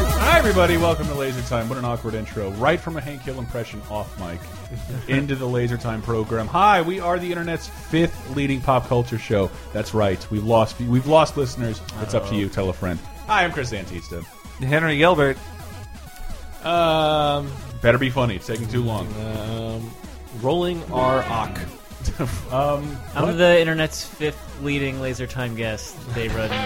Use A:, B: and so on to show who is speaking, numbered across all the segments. A: everybody, welcome to Laser Time. What an awkward intro. Right from a Hank Hill impression off mic into the Laser Time program. Hi, we are the internet's fifth leading pop culture show. That's right. We lost we've lost listeners. It's up to you, tell a friend. Hi, I'm Chris Antista.
B: Henry Gilbert.
A: Um Better be funny. It's taking too long.
C: Um, rolling our Ock.
A: Um
D: I'm
A: what?
D: the internet's fifth leading laser time guest, Dave Rudden.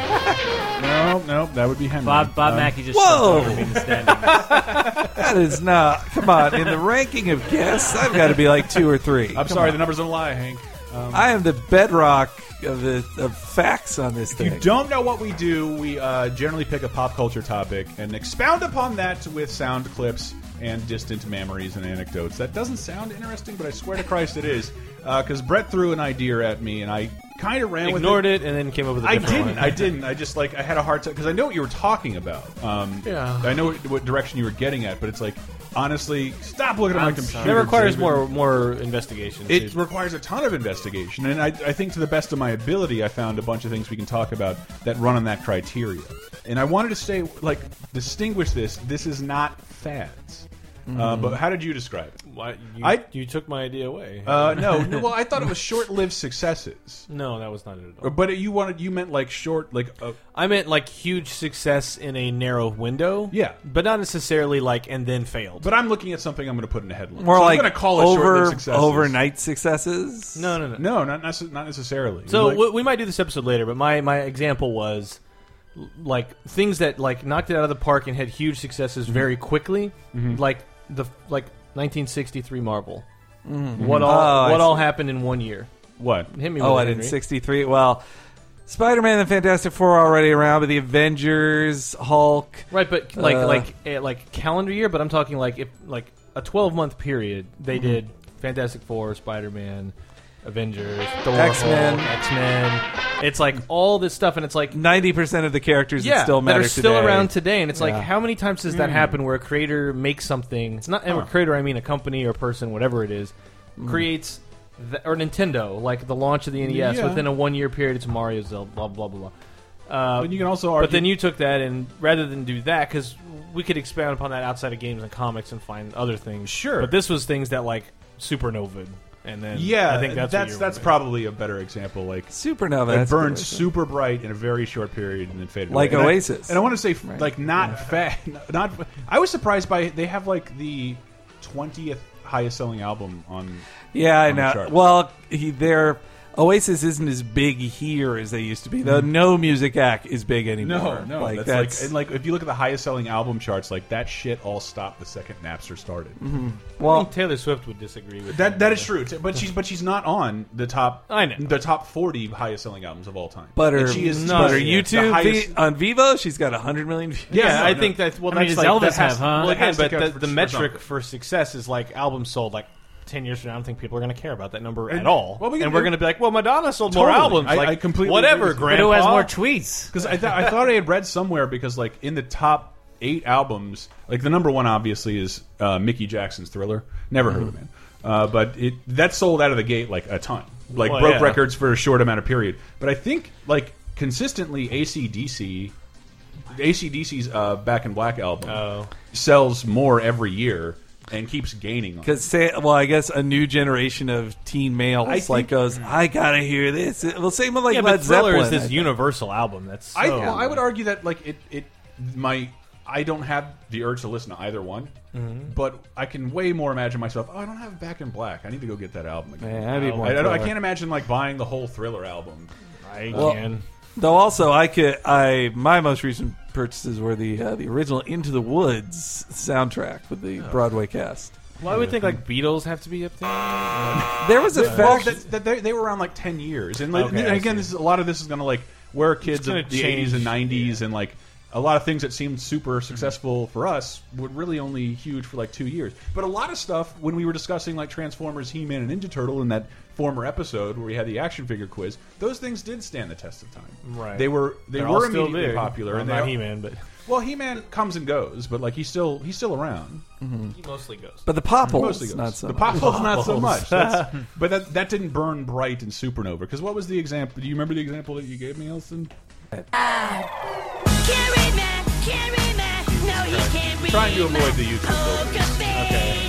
A: No, no, that would be Henry.
D: Bob Bob
A: Um,
D: Mackey just
B: Whoa!
D: stepped over me in the standing.
B: That is not. Come on. In the ranking of guests, I've got to be like two or three.
A: I'm sorry, the numbers don't lie, Hank. Um,
B: I am the bedrock of the of facts on this
A: If
B: thing.
A: you don't know what we do, we uh, generally pick a pop culture topic and expound upon that with sound clips and distant memories and anecdotes. That doesn't sound interesting, but I swear to Christ it is. Because Brett threw an idea at me and I kind of ran
C: Ignored
A: with it.
C: it and then came up with a
A: I
C: different
A: didn't.
C: one.
A: I didn't. I just like I had a hard time because I know what you were talking about. Um,
C: Yeah.
A: I know what, what direction you were getting at, but it's like honestly, stop looking at my
D: I'm
A: computer.
D: sorry.
C: That requires
A: David.
C: more more investigation.
A: It
C: too.
A: requires a ton of investigation, and I, I think to the best of my ability, I found a bunch of things we can talk about that run on that criteria. And I wanted to say, like, distinguish this. This is not fads. Uh, but how did you describe it?
C: Why- you,
A: I-
C: you took my idea away.
A: Uh, no, no, well, I thought it was short-lived successes.
C: no, that was not it at all.
A: But you wanted, you meant like short, like uh,
C: I meant like huge success in a narrow window.
A: Yeah.
C: but not necessarily like and then failed.
A: but I'm looking at something I'm going to put in a headline.
B: More
A: So I'm
B: like
A: going to call it short-lived
B: over
A: successes.
B: overnight successes.
C: no, no, no.
A: No, not necess- not necessarily.
C: So
A: Like-
C: we, we might do this episode later, but my my example was l- like things that like knocked it out of the park and had huge successes very quickly, like the like 1963 Marvel. What all
B: Oh, I
C: what all
B: see.
C: happened in one year?
A: what?
C: Hit me.
B: Oh,
C: with
B: I
C: it,
B: didn't.
C: Henry.
B: Sixty-three. Well, Spider-Man, the Fantastic Four, are already around, but the Avengers, Hulk.
C: Right, but like
B: Uh,
C: like eh, like calendar year, but I'm talking like if like a 12 month period they
B: Mm-hmm.
C: did Fantastic Four, Spider Man, Avengers, Thor,
B: X-Men.
C: X Men. It's like all this stuff, and it's like
B: Ninety percent of the characters
C: yeah,
B: that still
C: that
B: matter
C: are still
B: today.
C: around today, and it's like
B: Yeah. Mm.
C: how many times does that happen where a creator makes something? It's not and a creator, I mean a company or person, whatever it is,
B: Mm.
C: creates. th or Nintendo, like the launch of the NES,
A: Yeah.
C: within a one-year period, it's Mario, Zelda, blah blah blah. blah. Uh,
A: But you can also argue.
C: but then you took that, and rather than do that, because we could expand upon that outside of games and comics and find other things.
A: Sure.
C: But this was things that like supernova, and then
A: yeah,
C: I think that's
A: that's,
C: what
A: that's probably a better example. Like
B: Supernova.
A: It
B: that's
A: burned
B: good.
A: super bright in a very short period and then faded
B: Like
A: away. And I-
B: Oasis.
A: And I, want to say, f
B: Right.
A: like, not fat, not. I was surprised by they have like the twentieth highest selling album on.
B: Yeah, I
A: on the
B: know.
A: charts.
B: Well, he, their Oasis isn't as big here as they used to be. Though no music act is big anymore.
A: Mm-hmm. No, no,
B: like
A: that's,
B: that's,
A: like and like if you look at the highest selling album charts, like that shit all stopped the second Napster started.
B: Mm-hmm.
C: well,
B: well,
C: Taylor Swift would disagree with
A: That that is true, t- but she's but she's not on the top.
C: I know.
A: the top forty highest selling albums of all time.
B: butter.
A: And she is
C: not-
B: butter
A: she is the
B: YouTube
A: highest-
B: vi- on Vivo. She's got hundred million views.
C: Yeah,
A: no,
C: I
A: no.
C: think that's well.
D: I mean,
C: that's
D: does
C: like,
D: Elvis
C: that has
D: have,
C: to-
D: huh?
C: Well,
D: That
C: again,
A: has to
C: but
A: count
C: the,
A: for-
C: the
A: for
C: metric
A: something.
C: for success is like albums sold. Like ten years from now, I don't think people are going to care about that number at all.
A: well, we can
C: and we're
A: do-
C: going to be like, well, Madonna sold more
A: Totally.
C: albums.
A: I-
C: like
A: I completely agree
C: whatever.
A: with you.
D: But who has
C: grandpa.
D: more tweets?
A: Because I, th I thought I had read somewhere because like in the top eight albums, like the number one obviously is uh, Mickey Jackson's Thriller. Never
C: Hmm.
A: heard of it, uh, but it that sold out of the gate like a ton, like
C: Well,
A: broke
C: yeah.
A: records for a short amount of period. But I think like consistently ACDC, ACDC's uh, Back in Black album
C: Oh.
A: sells more every year and keeps gaining. on it.
B: Because say, well, I guess a new generation of teen males
A: I think-
B: like goes, I gotta hear this. It- Well, same with like
C: Yeah,
B: Led
C: but Thriller
B: Zeppelin.
C: is
B: I
C: this
B: think.
C: universal album. That's so,
A: I, well, I would argue that like it it my I don't have the urge to listen to either one,
B: Mm-hmm.
A: but I can way more imagine myself. Oh, I don't have Back in Black. I need to go get that album again.
B: Yeah, I'd be more
A: I, I, don't- I
B: Thriller.
A: can't imagine like buying the whole Thriller album.
C: I
B: Well,
C: can.
B: Though also I could I my most recent purchases were the uh, the original Into the Woods soundtrack with
A: Oh.
B: the Broadway cast.
C: Well, I would think like Beatles have to be up there.
B: There was a
A: Well,
B: fact-
A: that, that they, they were around like ten years, and, like,
C: Okay,
A: and
C: I
A: again,
C: see.
A: this is a lot of this is going to like where kids
C: gonna
A: of the
C: change, Mm-hmm.
A: eighties and nineties, and like a lot of things that seemed super successful for us were really only huge for like two years. But a lot of stuff when we were discussing like Transformers, He Man, and Ninja Turtle in that former episode where we had the action figure quiz, those things did stand the test of time.
C: Right.
A: They were they
C: They're all
A: were
C: still
A: immediately
C: big.
A: popular,
C: Well,
A: and
C: not
A: they
C: He-Man, but
A: well, He Man comes and goes, but like he's still he's still around.
C: he mostly goes.
B: but the Popples
A: Mostly goes.
B: not so
A: the
B: much.
A: pothole's not so
C: Potholes.
A: much. That's, but that that didn't burn bright in Supernova. Because what was the example? Do you remember the example that you gave me, Elston?
E: Can't read math, can't read math. No, he can't read
A: trying to avoid the YouTube filter.
E: Okay.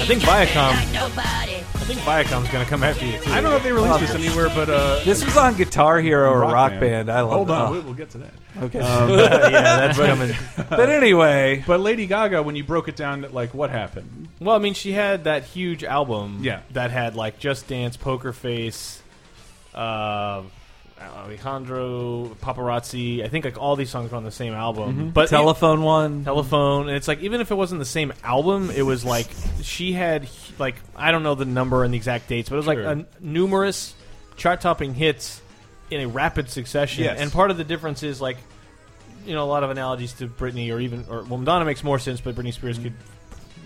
E: I
C: think Viacom-
E: I
C: I think Viacom's gonna come after you too.
A: I don't know if they released this anywhere, but uh,
B: This was on Guitar Hero or Rock, Band. I love
A: Hold on,
B: oh,
A: we- we'll get to that.
B: okay.
C: yeah, that's coming.
B: but anyway,
A: But Lady Gaga, when you broke it down, like what happened?
C: Well, I mean, she had that huge album.
A: Yeah.
C: That had like Just Dance, Poker Face, uh, Alejandro, Paparazzi. I think like all these songs were on the same album.
A: Mm-hmm.
C: But
B: telephone
A: um,
B: one.
C: telephone, and it's like even if it wasn't the same album, it was like she had like I don't know the number and the exact dates, but it was like
A: Sure.
C: a, numerous chart-topping hits in a rapid succession.
A: Yes.
C: And part of the difference is like you know a lot of analogies to Britney or even or well Madonna makes more sense, but Britney Spears could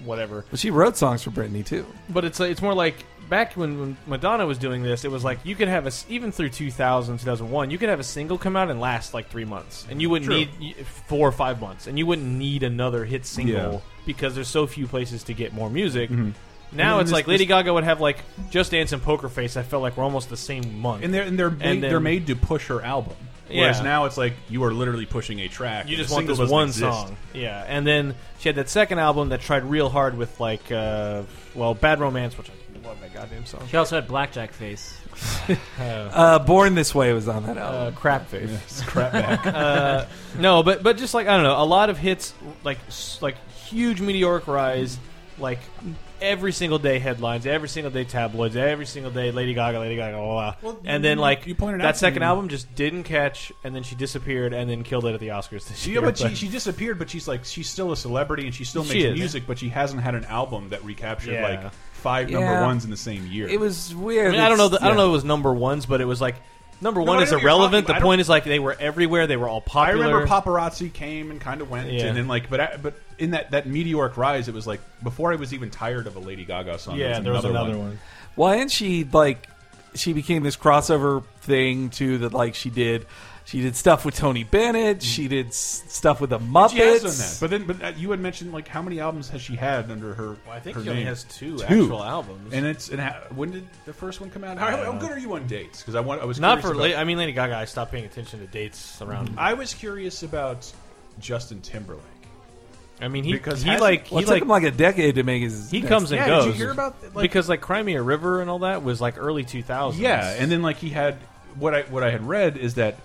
C: whatever.
B: But she wrote songs for Britney too.
C: But it's like- it's more like back when, when Madonna was doing this, it was like you could have a s- even through 2000, 2001, you could have a single come out and last like three months, and you wouldn't
A: True.
C: need y- four or five months, and you wouldn't need another hit single
A: Yeah. Mm-hmm.
C: because there's so few places to get more music. Now
A: And
C: it's
A: this-
C: like Lady Gaga would have like Just Dance and Poker Face. I felt like we're almost the same month.
A: And they're and they're made, they're
C: then-
A: made to push her album.
C: Yeah.
A: Whereas now it's like you are literally pushing a track.
C: you
A: and
C: just
A: the
C: want
A: single
C: this
A: doesn't
C: one
A: exist.
C: song, yeah. And then she had that second album that tried real hard with like, uh, well, Bad Romance, which I love that goddamn song.
D: She also had blackjack face.
B: Uh, Born This Way was on that album.
C: Uh, crap face.
A: It's crap back.
C: Uh, no, but but just like I don't know, a lot of hits like s- like huge meteoric rise, like every single day headlines, every single day tabloids, every single day Lady Gaga, Lady Gaga, blah, blah. blah.
A: Well,
C: and then like
A: you pointed
C: that
A: out to
C: second
A: me-
C: album just didn't catch, and then she disappeared, and then killed it at the Oscars this
A: yeah,
C: year.
A: but she, she disappeared. But she's like she's still a celebrity and she still
C: She
A: makes
C: is.
A: music, but she hasn't had an album that recaptured
C: Yeah.
A: like five
B: Yeah.
A: number ones in the same year.
B: it was weird.
C: Uh, I, mean, I don't know. The, I don't
B: Yeah.
C: know. If it was number ones, but it was like number
A: No,
C: one
A: I
C: is
A: know what you're talking
C: irrelevant.
A: about.
C: The
A: I don't-
C: point is like they were everywhere. They were all
A: I
C: popular.
A: remember paparazzi came and kind of went,
C: Yeah.
A: and then like, but I, but in that that meteoric rise, it was like before I was even tired of a Lady Gaga song.
C: Yeah, there was another one.
B: Well, and she like she became this crossover thing too that like she did. She did stuff with Tony Bennett. She did s- stuff with the Muppets.
A: She has done that, but then but uh, you had mentioned like how many albums has she had under her?
C: I think
A: her
C: she only
A: name?
C: has two,
A: Two.
C: actual albums.
A: And it's and ha when did the first one come out? How, how good are you on dates? Because I want I was
C: Not
A: curious
C: for.
A: about,
C: La- I mean, Lady Gaga. I stopped paying attention to dates around.
A: I was curious about Justin Timberlake.
C: I mean, he
A: Because
C: he
A: hasn't-
C: like
B: Well, it
C: he
B: took
C: like
B: him like a decade to make his.
C: he
B: next-
C: comes and
A: yeah,
C: goes.
A: did you hear about that? like,
C: because like Crimea River and all that was like early 2000s.
A: Yeah, and then like he had what I what I had read is that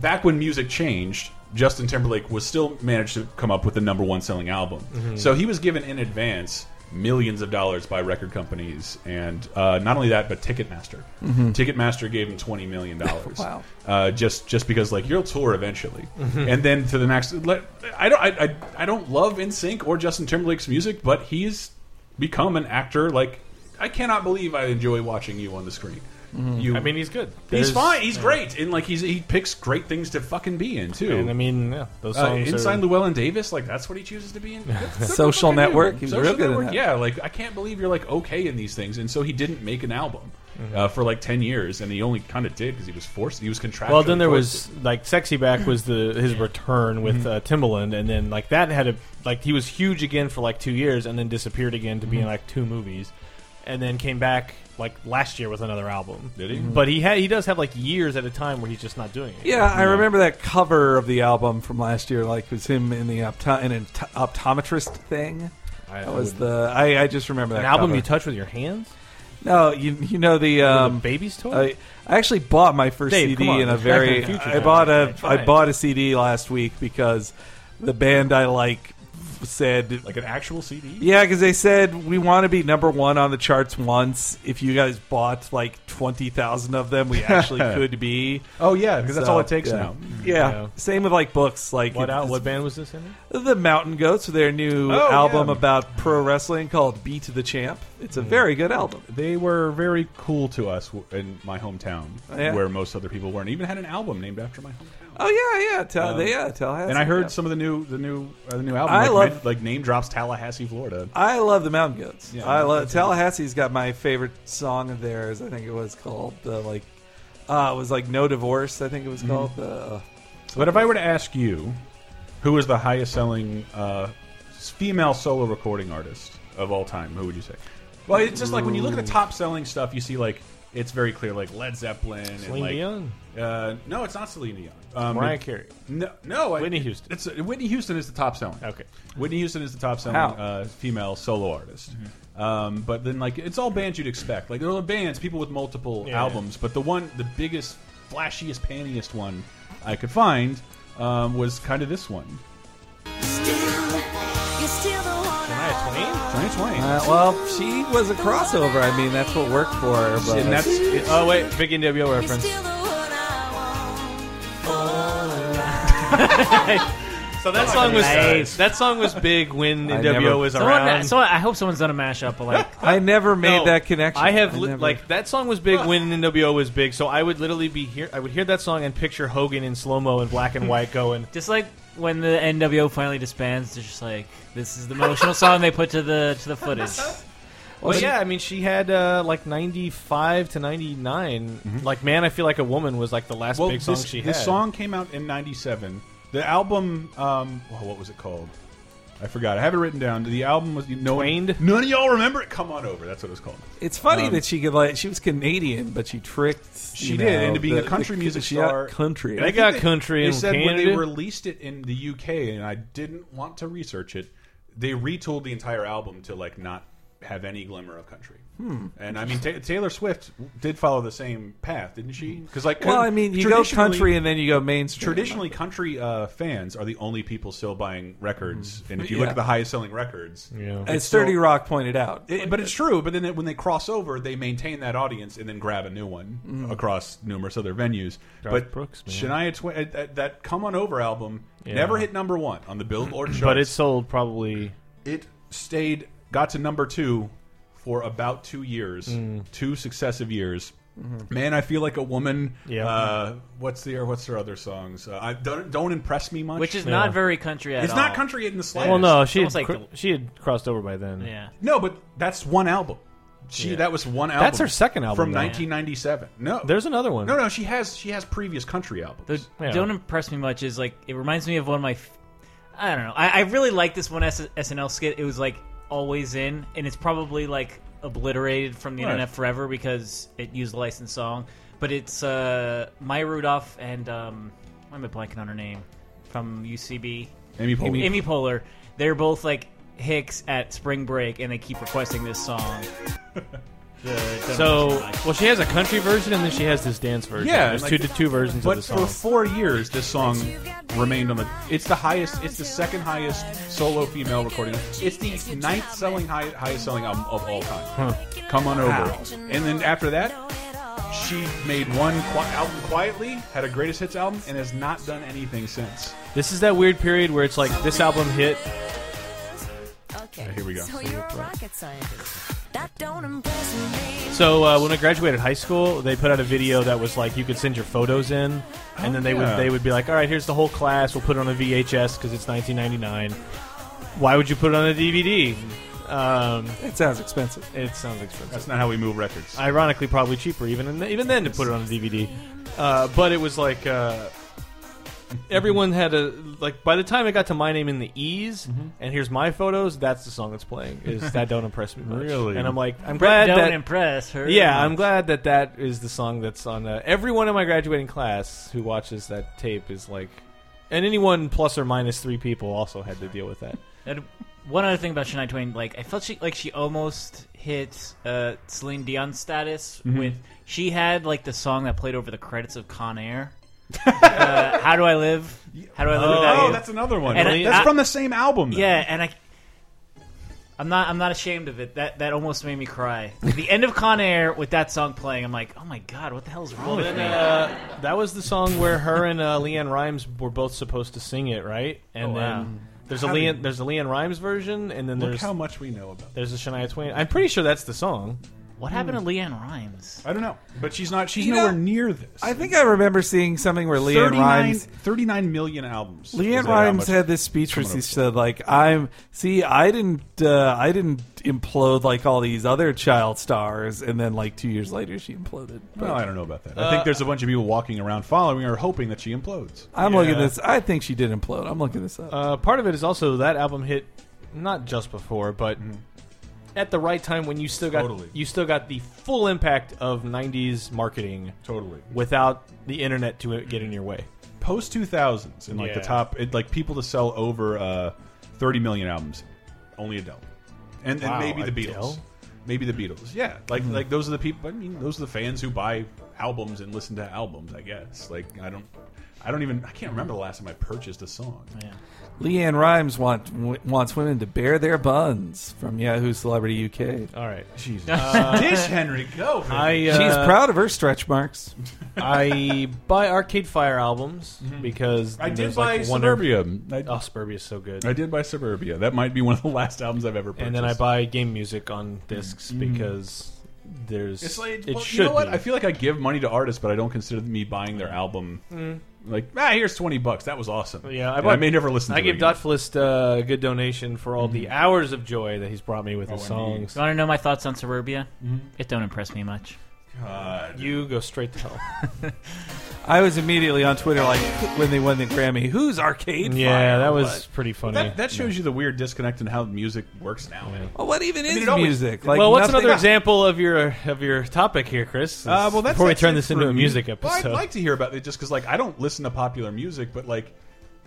A: back when music changed, Justin Timberlake was still managed to come up with the number one selling album. So he was given in advance millions of dollars by record companies, and uh, not only that, but Ticketmaster. Ticketmaster gave him twenty million dollars.
B: Wow.
A: Uh, just just because like you'll tour eventually,
C: Mm-hmm.
A: and then to the next. Let, I don't I, I I don't love NSYNC or Justin Timberlake's music, but he's become an actor. Like I cannot believe I enjoy watching you on the screen. You,
C: Mm-hmm. I mean, he's good.
A: he's
C: There's-
A: fine. He's great, and like he's he picks great things to fucking be in too.
C: And I mean, yeah, those
A: Uh,
C: songs
A: inside
C: are.
A: Llewellyn Davis, like that's what he chooses to be in. Good- good for
B: Social
A: fucking
B: Network,
A: him.
B: he was
A: Social
B: real good in
A: Network,
B: that.
A: Yeah, like I can't believe you're like okay in these things, and so he didn't make an album
C: Mm-hmm.
A: uh, for like ten years, and he only kind of did because he was forced. He was contractually.
C: well, then there
A: forced
C: was like "Sexy Back" was the his return
A: Mm-hmm.
C: with uh, Timbaland, and then like that had a like he was huge again for like two years, and then disappeared again to be
A: Mm-hmm.
C: in like two movies, and then came back like last year with another album.
A: Did he?
C: But he had he does have like years at a time where he's just not doing it.
B: Yeah, I remember that cover of the album from last year. Like, it was him in the opto- in an opt- optometrist thing.
C: I
B: That was the. I, I just remember that
C: an album
B: cover.
C: you touch with your hands.
B: no, you you know the
C: Um,
B: um.
C: baby's toy.
B: I, I actually bought my first
C: Dave,
B: CD
C: come on.
B: in a
C: Back to
B: very.
C: the Future
B: I
C: sounds
B: bought a
C: like that.
B: I bought a CD last week because the band I like said
A: like an actual CD.
B: Yeah, because they said we want to be number one on the charts once. If you guys bought like twenty thousand of them, we actually could be.
A: Oh yeah, because that's
B: So,
A: all it takes
B: yeah.
A: now.
B: Yeah.
C: Yeah.
B: same with like books. Like
C: what
B: it-
C: out? What band was this in?
B: the Mountain Goats, their new
A: Oh,
B: album
A: yeah. Hmm.
B: about pro wrestling called "Beat the Champ." It's a very good album.
A: They were very cool to us w- in my hometown,
B: Yeah.
A: where most other people weren't. Even had an album named after my hometown.
B: Oh yeah, yeah, Tal-
A: Um,
B: yeah, Tallahassee.
A: and I heard
B: yeah.
A: some of the new the new uh, the new album.
B: I
A: like,
B: love-
A: meant- like name drops Tallahassee, Florida.
B: I love the Mountain Goats.
A: Yeah,
B: I
A: Mountain
B: love
A: Goats
B: Tallahassee's got my favorite song of theirs. I think it was called the like. Uh, it was like no divorce. I think it
A: Mm-hmm.
B: was called uh, the.
A: But if I were to ask you, who is the highest selling uh, female solo recording artist of all time? Who would you say? Well, it's just like when you look at the top selling stuff, you see like it's very clear, like Led Zeppelin. and
C: Celine
A: like,
C: Dion?
A: Uh, no, it's not Celine Dion. Um,
C: Mariah
A: it-
C: Carey.
A: No, no, I-
C: Whitney
A: it-
C: Houston.
A: It's Whitney Houston is the top selling.
C: Okay.
A: Whitney Houston is the top selling
B: How?
A: uh, female solo artist.
C: Mm-hmm.
A: Um, but then, like, it's all bands you'd expect. Like, there are bands, people with multiple
C: Yeah.
A: albums, but the one, the biggest, flashiest, panniest one I could find um, was kind of this one. Shania Twain.
B: Uh, well, she was a crossover. I mean, that's what worked for her. But
A: and that's it,
C: Oh wait, Big NWO reference. So that song was
D: Nice.
C: that song was big when
B: I
C: NWO
B: never-
C: was
D: Someone,
C: around.
D: someone, I hope someone's done a mashup, but like,
B: I never made
C: No,
B: that connection.
C: I have li-
B: never-
C: like that song was big when NWO was big, so I would literally be here. I would hear that song and picture Hogan in slow mo in black and white going.
D: just like when the NWO finally disbands, it's just like this is the emotional song they put to the to the footage.
C: Well, yeah, I mean, she had uh, like ninety five to ninety Like, man, I feel like a woman was like the last
A: well,
C: big song
A: this,
C: she had.
A: this song came out in '97. The album, um, oh, what was it called? I forgot. I have it written down. The album was you know,
C: Twained?
A: None of y'all remember it. Come on over. That's what it was called.
B: It's funny
A: Um,
B: that she could like she was Canadian, but she tricked.
A: She
B: you
A: did
B: know,
A: into being
B: the-
A: a country
B: the-
A: music
B: she
A: star.
B: Got country.
A: And I
C: They
A: think
C: got country
A: They
C: in
A: said when they
C: Canada?
A: released it in the UK, and I didn't want to research it. They retooled the entire album to like not have any glimmer of country.
B: Hmm.
A: And I mean, Ta Taylor Swift did follow the same path, didn't she? Because like,
B: Hmm. well, I mean, you go
A: traditionally-
B: country and then you go mainstream.
A: traditionally country uh, fans are the only people still buying records and if you look
B: Hmm. Yeah.
A: at the highest selling records
C: Yeah.
B: as
A: so-
B: Thirty Rock pointed out.
A: it- but it's true but then it, when they cross over they maintain that audience and then grab a new one across numerous other venues but
C: Mm-hmm. Brooks, man.
A: Shania Twain uh, that, that come on over album
C: Yeah.
A: never hit number 1 on the Billboard charts
C: but it sold probably.
A: it stayed got to number 2 for about 2 years
C: Mm.
A: two successive years Man, I feel like a woman.
C: Mm-hmm. Yeah.
A: Uh, what's the what's her other songs? Uh, I don't don't impress me much.
D: which is
C: Yeah.
D: not very country at
A: It's
D: all.
A: not country in the slightest.
C: Well, no, she had
D: almost like
C: cr- she had crossed over by then.
D: Yeah,
A: no, but that's one album. She that was one album.
C: That's her second album,
A: from
C: though.
A: 1997. No,
C: There's another one.
A: no, no. She has she has previous country albums.
D: the
C: Yeah.
D: don't impress me much is like it reminds me of one of my. f- I don't know. I, I really like this one S- SNL skit. It was like always in, and it's probably like obliterated from the
A: Right.
D: internet forever because it used a licensed song. But it's uh, Maya Rudolph and um, why am I blanking on her name from UCB?
A: Amy Poehler.
D: Amy, Poehler. They're both like Hicks at spring break, and they keep requesting this song. The- don't
C: So,
D: know why.
C: well, she has a country version and then she has this dance version.
A: Yeah,
C: there's
A: like-
C: two two versions
A: but
C: of
A: for
C: the song.
A: four years, this song remained on the. It's the highest. It's the second highest solo female recording. It's the ninth selling high, highest selling album of all time. Come on over. And then after that, she made one qui album quietly, had a greatest hits album, and has not done anything since.
C: This is that weird period where it's like this album hit.
E: Okay.
A: here we go.
E: So you're a rocket scientist. That don't impress me.
C: So uh, when I graduated high school, they put out a video that was like you could send your photos in, and then they
A: Oh, yeah.
C: would they would be like, all right, here's the whole class. We'll put it on a VHS because it's 1999. Why would you put it on a DVD? Um,
B: It sounds expensive.
C: it sounds expensive.
A: That's not how we move records.
C: ironically probably cheaper even and even then to put it on a DVD. Uh, but it was like uh, everyone had a like by the time it got to my name in the E's
D: Mm-hmm.
C: and here's my photos. That's the song that's playing. Is that don't impress me much?
A: Really?
C: And I'm like I'm
D: But
C: glad
D: don't
C: that.
D: impress her.
C: yeah, I'm glad that that is the song that's on. Uh, everyone in my graduating class who watches that tape is like, and anyone plus or minus three people also had to deal with that.
D: And one other thing about Shania Twain, like I felt she like she almost hit uh, Celine Dion status
A: Mm-hmm.
D: with she had like the song that played over the credits of Con Air. uh, how do I live? How do I live without
A: Oh,
D: you?
A: that's another one.
D: And I-
A: that's
D: I-
A: from the same album. though.
D: Yeah, and I, I'm not, I'm not ashamed of it. That that almost made me cry. the end of Con Air with that song playing, I'm like, oh my god, what the hell's wrong with me?
C: Uh, that was the song where her and uh, Leanne Rhimes were both supposed to sing it, right? And
D: Oh, wow.
C: then there's a
A: How do
C: Leanne
A: you-
C: there's a Leanne Rhimes version, and then
A: Look
C: there's
A: how much we know about. That.
C: there's a Shania Twain. I'm pretty sure that's the song.
D: What happened to Leanne Rhymes?
A: I don't know, but she's not. She's
B: You know,
A: nowhere near this.
B: I think I remember seeing something where Leanne
A: 39
B: Rhymes.
A: 39 million albums. Is
B: Leanne
A: that how
B: Rhymes
A: much-
B: had this speech where
A: coming
B: she
A: up
B: said, "Like I'm, see, I didn't, uh, I didn't implode like all these other child stars." And then, like two years later, she imploded. But
A: Well, I don't know about that. I
C: Uh,
A: think there's a bunch of people walking around following her, hoping that she implodes.
B: I'm looking at
C: Yeah.
B: this. I think she did implode. I'm looking this up.
C: Uh, part of it is also that album hit not just before, but at the right time when you still got
A: Mm-hmm. Totally.
C: you still got the full impact of '90s marketing
A: Totally.
C: without the internet to it get in your way.
A: Post 2000s and like the
C: Yeah.
A: top, it, like people to sell over uh, 30 million albums, only Adele, and and
C: Wow,
A: maybe the
C: Adele? Hmm.
A: Beatles, maybe the Beatles. Yeah, like like those are the people. I mean, those are the fans who buy albums and listen to albums. I guess. Like I don't, I don't even. I can't remember the last time I purchased a song.
D: Yeah.
B: Leanne Rhymes want, w- wants women to bare their buns from Yahoo Celebrity UK.
C: All right,
B: Jesus.
A: Dish Henry, go.
C: I uh,
B: She's proud of her stretch marks.
C: I buy Arcade Fire albums because
A: Mm-hmm. I did
C: there's,
A: buy
C: like one every-
A: Suburbia. I,
C: Oh, Suburbia is so good.
A: I did buy Suburbia. That might be one of the last albums I've ever purchased.
C: and then I buy game music on discs because there's
A: It's like,
C: it
A: well,
C: should
A: you know what?
C: be.
A: I feel like I give money to artists, but I don't consider me buying their album. Like, ah, here's twenty bucks. That was awesome.
C: Mm. Yeah, I
A: And
C: bought-
A: may never listen.
C: I
A: to it
C: give
A: again.
C: Dot Felist uh, a good donation for all the hours of joy that he's brought me with his
A: Oh, indeed.
C: songs.
D: You want to know my thoughts on Suburbia?
A: Mm-hmm.
D: It don't impress me much.
A: God.
C: You go straight to hell.
B: I was immediately on Twitter, like when they won the Grammy, who's Arcade Fire?
C: yeah, that was
B: What?
C: pretty funny.
A: That, that shows you the weird disconnect in how music works now. man.
B: Well, what even is
A: it always-
B: music? Like,
C: well, what's
B: nothing-
C: another example of your of your topic here, Chris?
A: Uh, well, that's
C: before we
A: that's
C: turn
A: it
C: this
A: for
C: into a
A: mu-
C: music
A: Well,
C: episode.
A: I'd like to hear about it just because, like, I don't listen to popular music, but like,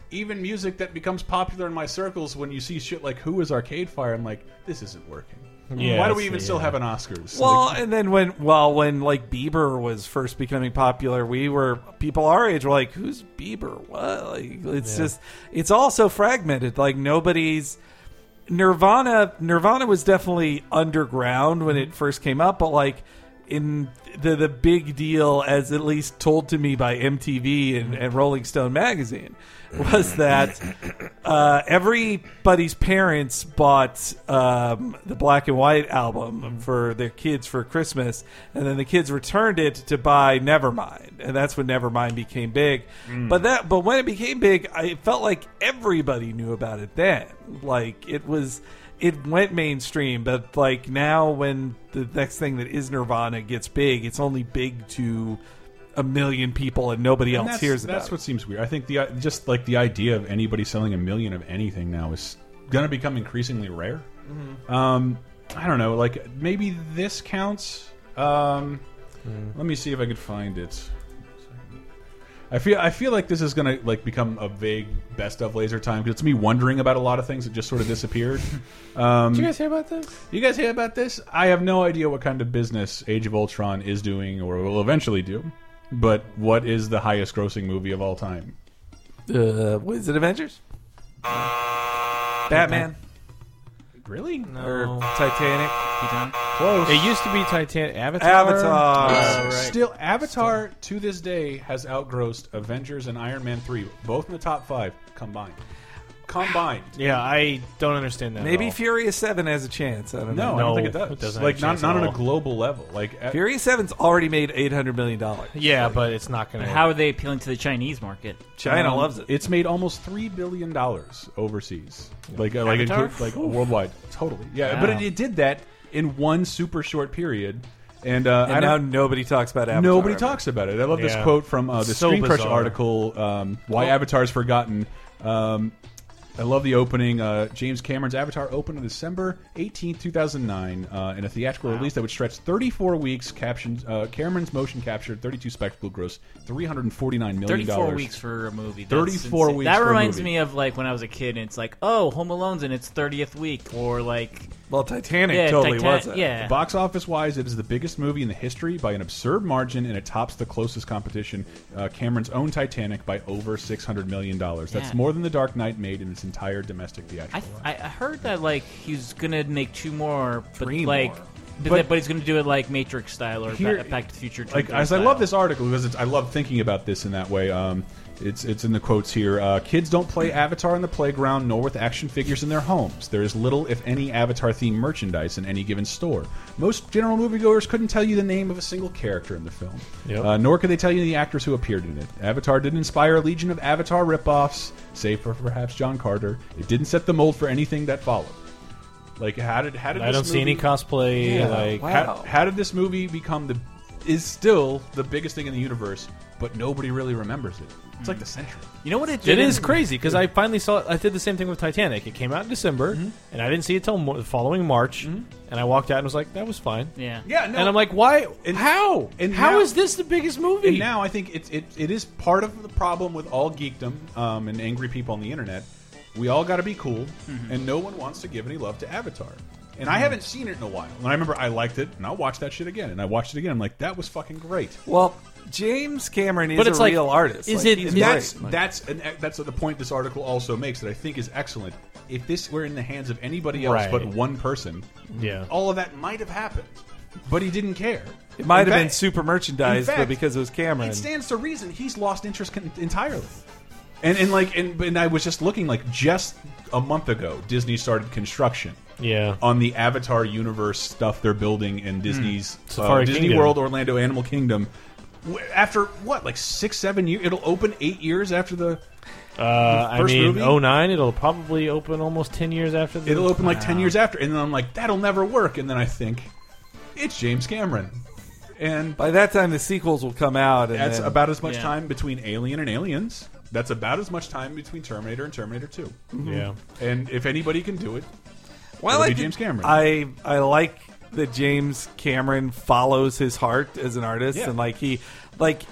A: even music that becomes popular in my circles, when you see shit like "Who is Arcade Fire," I'm like, this isn't working.
C: Yeah, uh,
A: Why do
C: I
A: we even
C: see,
A: still
C: yeah.
A: have an Oscars?
B: Well,
A: Like,
B: and then when well when like Bieber was first becoming popular, we were people our age were like, "Who's Bieber?" What? Like, it's just it's all so fragmented. Like nobody's Nirvana. Nirvana was definitely underground when it first came up, but like in the the big deal, as at least told to me by MTV and, and Rolling Stone magazine, was that uh, everybody's parents bought um, the black and white album for their kids for Christmas, and then the kids returned it to buy Nevermind, and that's when Nevermind became big.
A: Mm.
B: But that, but when it became big, I it felt like everybody knew about it then. Like it was, it went mainstream. But like now, when the next thing that is Nirvana gets big, it's only big to a million people, and nobody
A: And
B: else
A: that's,
B: hears about
A: that's
B: it.
A: what seems weird. I think the just like the idea of anybody selling a million of anything now is going to become increasingly rare. Um, I don't know. Like maybe this counts. Um, Let me see if I could find it. I feel I feel like this is gonna like become a vague best of laser time because it's me wondering about a lot of things that just sort of disappeared. Um,
C: Did you guys hear about this?
A: You guys hear about this? I have no idea what kind of business Age of Ultron is doing or will eventually do. But what is the highest grossing movie of all time?
B: Uh, what is it Avengers? Batman
A: Really? Oh.
B: or Titanic?
D: Keaton?
A: Close.
C: It used to be Titanic Avatar.
B: Avatar.
A: Still, Avatar to this day has outgrossed Avengers and Iron Man 3, both in the top five combined. Combined.
C: Yeah, I don't understand that. at
B: Maybe
C: all.
B: Furious Seven has a chance. I don't
A: No,
B: know.
A: I don't think it
C: No,
A: does.
C: it doesn't have
A: like
C: a
A: not
C: chance at
A: not on a
C: all.
A: global level. Like a-
B: Furious Seven's already made eight hundred million dollars.
C: Yeah, but it's not going to.
D: How are they appealing to the Chinese market?
B: China
A: um,
B: loves it.
A: It's made almost three billion dollars overseas, like uh, like
C: Avatar?
A: include- like worldwide. Totally. Yeah, but
D: Wow.
A: it, it did that in one super short period, and, uh, I
B: and now
A: don't-
B: nobody talks about Avatar.
A: Nobody talks about it. I love this
C: Yeah.
A: quote from uh, the
C: So
A: Screen Crush
C: bizarre.
A: article, um, Why
C: Oh.
A: Avatar's Forgotten. Um, I love the opening. Uh, James Cameron's Avatar opened on December 18, 2009, uh, in a theatrical release that would stretch 34 weeks. Captioned, uh, Cameron's motion capture 32 spectacle gross $349 million.
D: 34 weeks for a movie. That's
A: 34
D: insane.
A: weeks
D: That
A: for a
D: reminds
A: movie.
D: me of like when I was a kid and it's like, oh, Home Alone's in its 30th week or like
B: Well, Titanic
D: yeah,
B: totally
D: Titan-
B: was it.
D: Yeah.
A: Box office wise, it is the biggest movie in the history by an absurd margin, and it tops the closest competition, uh, Cameron's own Titanic, by over six hundred million dollars. That's
D: Yeah.
A: more than The Dark Knight made in its entire domestic theatrical.
D: I,
A: run.
D: I I heard that like he's gonna make two more, but
B: Three
D: like,
B: more.
D: But,
A: But-
D: but he's gonna do it like Matrix style or
A: Here-
D: Ba- Back to the Future. 2
A: like as I
D: style.
A: love this article because it's, I love thinking about this in that way. Um, it's it's in the quotes here. Uh, Kids don't play Avatar on the playground nor with action figures in their homes. There is little, if any, Avatar themed merchandise in any given store. Most general moviegoers couldn't tell you the name of a single character in the film,
C: Yep.
A: uh, nor could they tell you the actors who appeared in it. Avatar didn't inspire a legion of Avatar ripoffs, save for perhaps John Carter. It didn't set the mold for anything that followed. Like how did how did
C: I
A: this
C: don't see any
A: movie-
C: cosplay.
A: yeah,
C: Like
B: wow.
A: how, how did this movie become the is still the biggest thing in the universe, but nobody really remembers it. It's like the century.
D: You know what it did?
C: It is crazy because I finally saw. it. I did the same thing with Titanic. It came out in December, and I didn't see it till mo- the following March. And I walked out and was like, "That was fine."
D: Yeah.
A: Yeah, no.
C: And I'm like, "Why?
A: And-
C: how?
A: and now-
C: how is this the biggest movie?"
A: And now I think it's it, it is part of the problem with all geekdom um, and angry people on the internet. We all got to be cool, and no one wants to give any love to Avatar. And I haven't seen it in a while. And I remember I liked it, and I'll watch that shit again. And I watched it again. I'm like, that was fucking great.
B: Well, James Cameron is
C: But it's
B: a
C: like,
B: real artist.
C: is
B: Like,
C: it-
B: he's
A: that's
B: great. Like,
A: that's an, that's the point this article also makes that I think is excellent. If this were in the hands of anybody else
C: Right.
A: but one person,
C: Yeah.
A: all of that might have happened. But he didn't care.
B: it might
A: In
B: have been
A: fact-
B: super merchandise,
A: in fact,
B: but because it was Cameron,
A: It stands to reason he's lost interest con- entirely. And and like and, and I was just looking like just a month ago Disney started construction
C: Yeah.
A: on the Avatar universe stuff they're building
B: Hmm.
A: in Disney's uh,
C: Safari
A: Disney
C: Kingdom.
A: World Orlando Animal Kingdom. W- After what like six seven years it'll open eight years after the
C: Uh, I
A: first
C: mean,
A: movie?
C: oh nine. It'll probably open almost ten years after. The,
A: it'll open like ten years after and then I'm like that'll never work and then I think it's James Cameron and
B: by that time the sequels will come out, and
A: that's
B: then-
A: about as much
D: Yeah.
A: time between Alien and Aliens. That's about as much time between Terminator and Terminator Two.
C: Yeah.
A: Mm-hmm. And if anybody can do it,
B: Well,
A: It'll
B: I
A: be
B: did-
A: James Cameron.
B: I I like that James Cameron follows his heart as an artist,
A: Yeah.
B: and like he like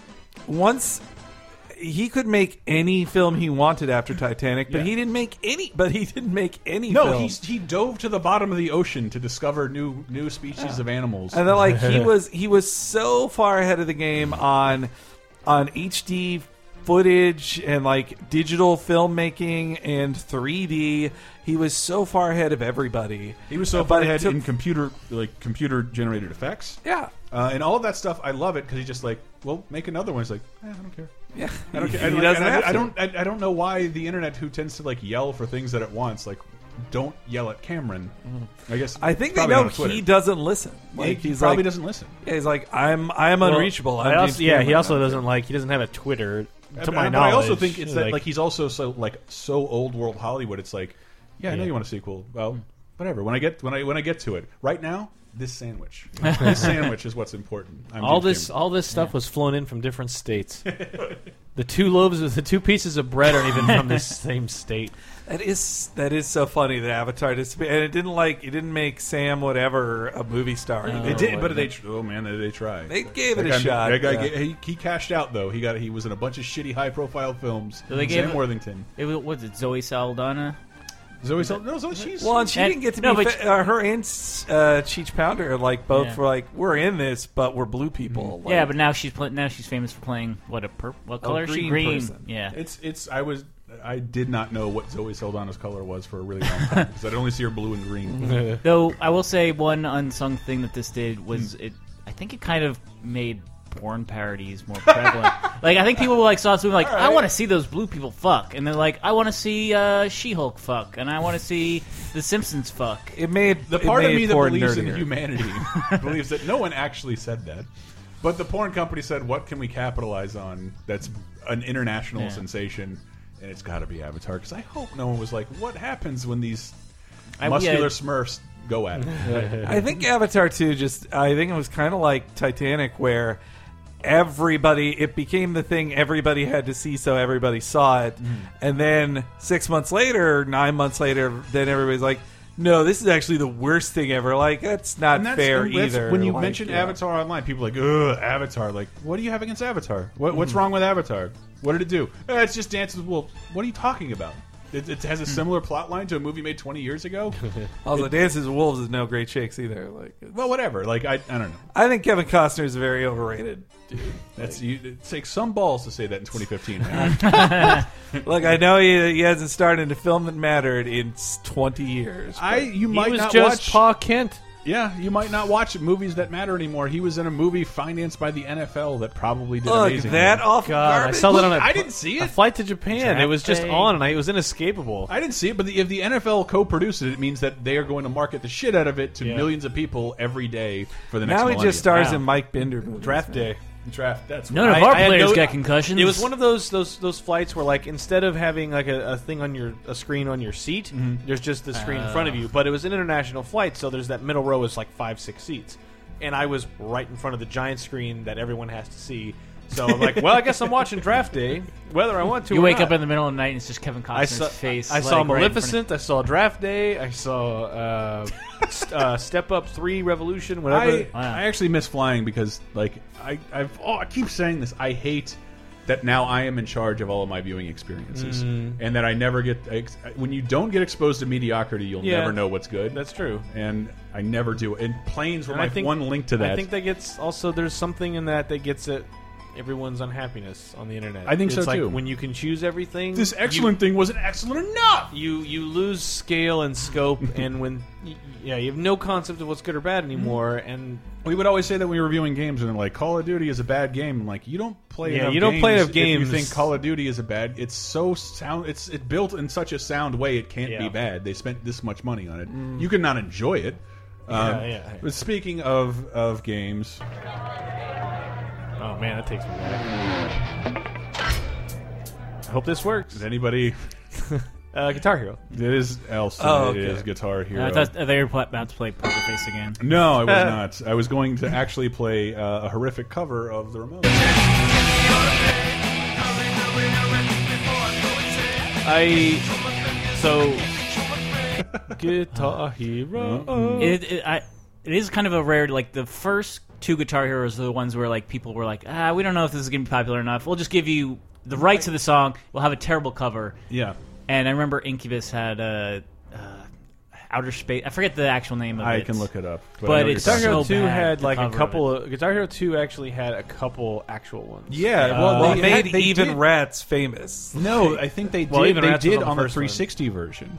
B: once he could make any film he wanted after Titanic, but
A: Yeah.
B: he didn't make any. But he didn't make any.
A: no,
B: film.
A: he's, he dove to the bottom of the ocean to discover new new species of animals.
B: and then like he was he was so far ahead of the game on on HD footage and like digital filmmaking and 3D. He was so far ahead of everybody.
A: he was so
B: But
A: far
B: it
A: ahead
B: took-
A: in computer like computer generated effects,
B: yeah.
A: uh, and all of that stuff. I love it because he's just like, well, make another one. He's like, eh, I don't care.
B: Yeah,
A: I don't care.
B: He
A: And, like,
B: doesn't
A: and I-
B: have
A: I,
B: to.
A: don't. I, I don't know why the internet, who tends to like yell for things that it wants, like don't yell at Cameron. Mm-hmm. I guess
B: I think they
A: probably
B: know
A: on Twitter.
B: he doesn't listen. Like
A: he
B: he's
A: probably
B: like,
A: doesn't listen.
B: Yeah, he's like I'm I'm
C: Well,
B: unreachable.
C: I
B: I'm
C: also-
B: James
C: yeah, he
B: Cameron.
C: also doesn't like. He doesn't have a Twitter. To
A: But-
C: my
A: but I
C: knowledge,
A: also think it's that like he's also so like so old world Hollywood. It's like, yeah, I know
C: Yeah.
A: you want a sequel. Well, whatever. When I get when I when I get to it, right now, this sandwich, this sandwich is what's important. I'm
C: all
A: James
C: this
A: Cameron.
C: all this stuff was flown in from different states. the two loaves, of the two pieces of bread aren't even from the same state.
B: That is that is so funny. The Avatar just and it didn't like it didn't make Sam whatever a movie star. He
A: They
B: made-
A: did, but they tr- oh man, they, they tried.
B: They gave
A: That
B: it a
A: guy-
B: shot,
A: That guy
B: yeah.
A: ga- he, he cashed out though. He got he was in a bunch of shitty high profile films.
D: So they
A: Sam
D: gave it-
A: Worthington,
D: It was, what was it Zoe Saldana?
A: Zoe Saldana. No, Zoe, she's
B: Well, and she
D: And-
B: didn't get to
D: no,
B: be.
D: but-
B: Fa- uh, her and uh, Cheech Pounder are like both
D: Yeah. Mm-hmm.
B: were like we're in this, but we're blue people. Like,
D: yeah, but now she's pl- now she's famous for playing what a purp what color? is she
B: green
D: green.
B: person.
D: Yeah.
A: it's it's. I was I did not know what Zoe Saldana's color was for a really long time because I'd only see her blue and green.
D: Though I will say one unsung thing that this did was
C: Hmm.
D: it. I think it kind of made porn parodies more prevalent. like I think people like saw this movie like I want to see those blue people fuck, and they're like I want to see uh, She-Hulk fuck, and I want to see The Simpsons fuck.
B: it made
A: The
B: it
A: part of
B: made
A: me that
B: porn
A: believes
B: nerdier.
A: in humanity believes that no one actually said that. But the porn company said, what can we capitalize on that's an international
D: Yeah.
A: sensation? And it's got to be Avatar. Because I hope no one was like, what happens when these
D: I-
A: muscular
D: yeah.
A: smurfs go at it?
B: I think Avatar 2 just I think it was kind of like Titanic where everybody it became the thing everybody had to see so everybody saw it
A: Mm-hmm.
B: and then 6 months later 9 months later then everybody's like no this is actually the worst thing ever like that's not
A: And that's,
B: fair
A: and that's-
B: either
A: When you
B: Like,
A: mention
B: yeah.
A: Avatar online, people are like, ugh, Avatar. Like, what do you have against Avatar? What,
B: Mm-hmm.
A: what's wrong with Avatar? What did it do? Eh, it's just Dances with Wolves. What are you talking about? It, it
B: Mm.
A: has a similar plot line to a movie made 20 years ago?
B: also Dances with Wolves is no great shakes either like
A: well, whatever. Like, I, I don't know.
B: I think Kevin Costner is very overrated
A: That's you, it takes some balls to say that in 2015. man.
B: look I know he, he hasn't started a film that mattered in 20 years
A: I you
C: He
A: might
C: was
A: not
C: just
A: watch.
C: Pa Kent.
A: yeah, you might not watch movies that matter anymore. He was in a movie financed by the NFL that probably did
B: look
A: amazing.
B: that awful
C: God, I
B: garbage.
C: saw that on a.
A: I didn't see
C: a
A: it.
C: flight to Japan. It was just
D: Draft day.
C: on, and I, it was inescapable.
A: I didn't see it, but the, if the NFL co-produced it, it means that they are going to market the shit out of it to
C: Yeah.
A: millions of people every day for the next.
B: Now he
A: millennium.
B: just stars
C: Wow.
B: in Mike Bender movies.
C: Draft day.
A: draft. That's
D: None
A: what
D: of
A: I-
D: our
C: I had
D: players
C: no-
D: got concussions.
C: It was one of those those those flights where like instead of having like a, a thing on your a screen on your seat,
A: Mm-hmm.
C: there's just the screen in front
D: Uh.
C: of you. But it was an international flight, so there's that middle row is like five six seats, and I was right in front of the giant screen that everyone has to see. So I'm like, well, I guess I'm watching Draft Day, whether I want to.
D: You
C: or
D: wake
C: not.
D: up in the middle of the night and it's just Kevin
C: I
D: Costner's
C: saw
D: face.
C: I
D: like,
C: saw
D: right in front of-
C: Maleficent. I saw Draft Day. I saw uh, st- uh, Step Up Three Revolution. Whatever.
A: I, I actually miss flying because like I I've, oh I keep saying this I hate that now I am in charge of all of my viewing experiences
C: Mm.
A: and that I never get ex when you don't get exposed to mediocrity you'll
C: Yeah.
A: never know what's good
C: That's true.
A: and I never do and planes were
C: And
A: my
C: I think
A: one link to that
C: I think that gets also there's something in that that gets at everyone's unhappiness on the internet.
A: I think
C: it's
A: so,
C: like
A: too.
C: When you can choose everything,
A: this excellent thing wasn't excellent enough
C: you you lose scale and scope, and when y- yeah, you have no concept of what's good or bad anymore, and
A: we would always say that when we were reviewing games and they're like Call of Duty is a bad game I'm like you don't play
C: Yeah,
A: enough
C: you don't play enough
A: if
C: games.
A: you think Call of Duty is a bad it's so sound it's it built in such a sound way it can't be
C: Yeah.
A: bad they spent this much money on it you could not enjoy it um,
C: yeah, yeah.
A: but speaking of of games
C: oh man, that takes me back. I hope this works.
A: is anybody
C: Uh, Guitar Hero.
A: it is else
B: Oh,
A: it
B: okay.
A: is Guitar Hero
D: I thought they were pl- about to play Poker Face again.
A: no I was not I was going to actually play uh, a horrific cover of the remote
C: I so Guitar Hero.
D: It, it, I, it is kind of a rare, like, the first two Guitar Heroes are the ones where, like, people were like, ah, we don't know if this is going to be popular enough. We'll just give you the rights of the song. We'll have a terrible cover.
A: yeah
D: And I remember Incubus had a. Uh, Outer space. I forget the actual name of it.
A: I can look it up I
D: But
A: know what
D: it's
A: you're
C: Guitar
A: talking about.
C: Hero
D: so
C: Two
D: bad,
C: had
D: the
C: like a
D: cover of
C: couple. Of Guitar Hero Two actually had a couple actual ones.
A: yeah well,
B: Well,
A: they
B: made
A: had- they
B: even
A: did-
B: rats famous.
A: No, I think they did.
C: Well, even
A: they
C: Ratchet was
A: did
C: on the
A: on the,
C: first one.
A: 360 version.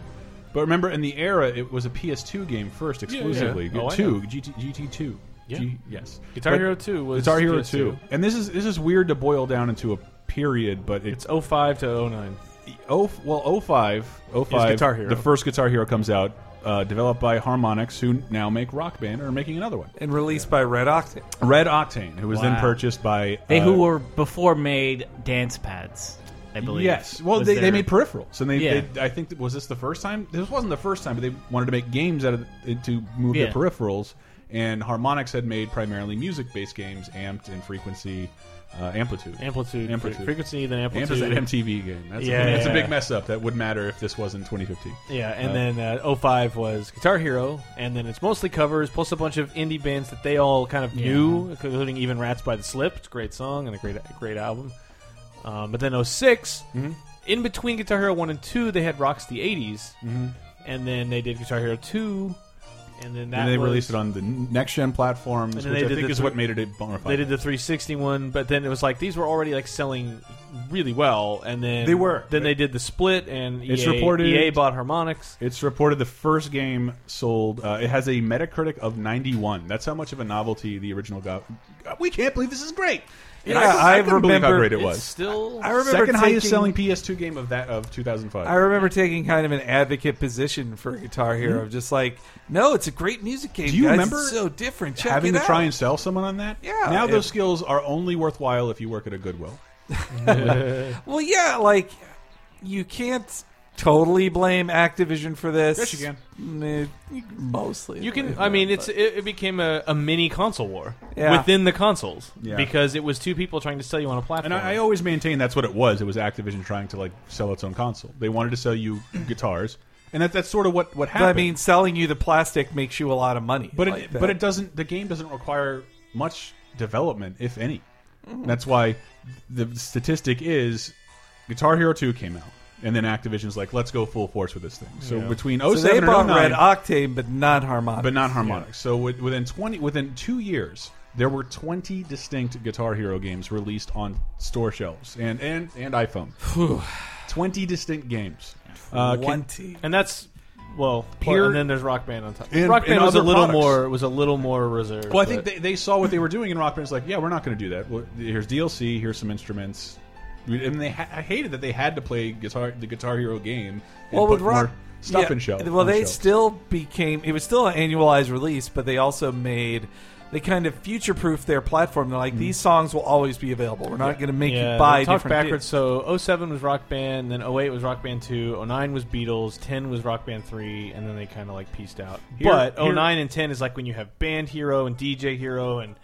A: But remember, in the era, it was a PS2 game first exclusively.
C: Oh, I
A: Two
C: know.
A: GT, GT2.
C: Yeah.
A: G- yes.
C: Guitar
A: But
C: Hero 2 was
A: Guitar Hero
C: PS2.
A: 2, and this is this is weird to boil down into a period, but it's
C: It's 05 to 09.
A: oh well 05, 05
C: Guitar Hero.
A: The first Guitar Hero comes out, uh, developed by Harmonix, who now make Rock Band or are making another one.
B: And released by Red Octane.
A: Red Octane, who was then
D: Wow.
A: purchased by
D: They who
A: uh,
D: were before made dance pads, I believe.
A: Yes. Well,
D: was
A: they, they
D: their-
A: made peripherals, and they,
D: Yeah.
A: they I think that- was this the first time. This wasn't the first time, but they wanted to make games out of it to move
D: Yeah.
A: their peripherals. And Harmonix had made primarily music-based games, Amped and Frequency, uh, Amplitude.
C: Amplitude.
A: Amplitude.
C: Frequency, then
A: Amped is
C: amplitude.
A: that MTV game. That's,
C: Yeah,
A: a, that's a
C: yeah.
A: big mess up. That would matter if this was in 2015.
C: yeah, and then uh, 05 was Guitar Hero, and then it's mostly covers, plus a bunch of indie bands that they all kind of knew, including even Rats by the Slip. It's a great song and a great great album. Um, but then 6
A: Mm-hmm.
C: in between Guitar Hero 1 and 2, they had Rocks the 80s,
A: Mm-hmm.
C: and then they did Guitar Hero 2, and then that
A: and they
C: was,
A: released it on the next-gen platforms, which
C: And then
A: I
C: they did
A: think
C: the
A: is what
C: thr-
A: made it a bona fide.
C: They did the 360 one, but then it was like these were already like selling really well, and then
A: They were.
C: Then they did the split, and E
A: It's
C: EA,
A: reported-
C: EA bought Harmonix.
A: It's reported the first game sold. Uh, it has a Metacritic of 91. That's how much of a novelty the original got. We can't believe this is great. And
B: Yeah,
A: I,
B: I
A: couldn't believe how
B: remember-
A: great it
C: It's
A: was.
C: still
B: I remember
A: Second
B: taking,
A: highest selling PS2 game of that of 2005.
B: I remember taking kind of an advocate position for Guitar Hero, of just like, no, it's a great music game.
A: Hmm? Do you
B: guys.
A: remember
B: it's so different? Check
A: Having
B: it
A: to
B: out.
A: try and sell someone on that.
B: Yeah,
A: Now those
B: it-
A: skills are only worthwhile if you work at a Goodwill.
B: Well, yeah, like you can't totally blame Activision for this.
A: Yes, you
B: Mm, eh, Mostly,
C: You can. I mean, it's it, it became a, a mini console war
B: Yeah.
C: within the consoles
A: Yeah.
C: because it was two people trying to sell you on a platform.
A: And I, I always maintain that's what it was. It was Activision trying to like sell its own console. They wanted to sell you guitars, and that, that's sort of what what
B: But,
A: happened.
B: I mean, selling you the plastic makes you a lot of money.
A: But
B: like
A: it,
B: that.
A: but it doesn't. The game doesn't require much development, if any.
B: Mm-hmm.
A: That's why the statistic is Guitar Hero 2 came out, and then Activision's like, let's go full force with this thing. So between
B: So
A: 07
B: they
A: and
B: bought
A: 09,
B: Red Octane, but not Harmonix.
A: but not Harmonix. So wi- within twenty within two years, there were twenty distinct Guitar Hero games released on store shelves and and and iPhone. twenty distinct games. Uh, can-
B: one team.
C: and that's well.
A: Here-
C: and then there's Rock Band on top.
A: And-
C: Rock Band
A: and
C: was a
A: other
C: little
A: products.
C: more was a little more reserved.
A: Well, I think
C: but-
A: they, they saw what they were doing in Rock Band's like, yeah, we're not going to do that. Well, here's DLC. Here's some instruments. And they ha I hated that they had to play guitar the Guitar Hero game. And
B: Well, with
A: put
B: Rock
A: more stuff
B: yeah,
A: in shelf.
B: Well,
A: on
B: they
A: shelves.
B: still became. It was still an annualized release, but they also made. They kind of future-proofed their platform. They're
A: Mm-hmm.
B: like, these songs will always be available. We're not going to make
C: yeah,
B: you buy
C: we'll talk
B: different
C: backwards. So 07 was Rock Band, then 08 was Rock Band 2, 09 was Beatles, 10 was Rock Band 3, and then they kind of like pieced out.
A: Here-
C: but
A: here-
C: 09 and 10 is like when you have Band Hero and DJ Hero and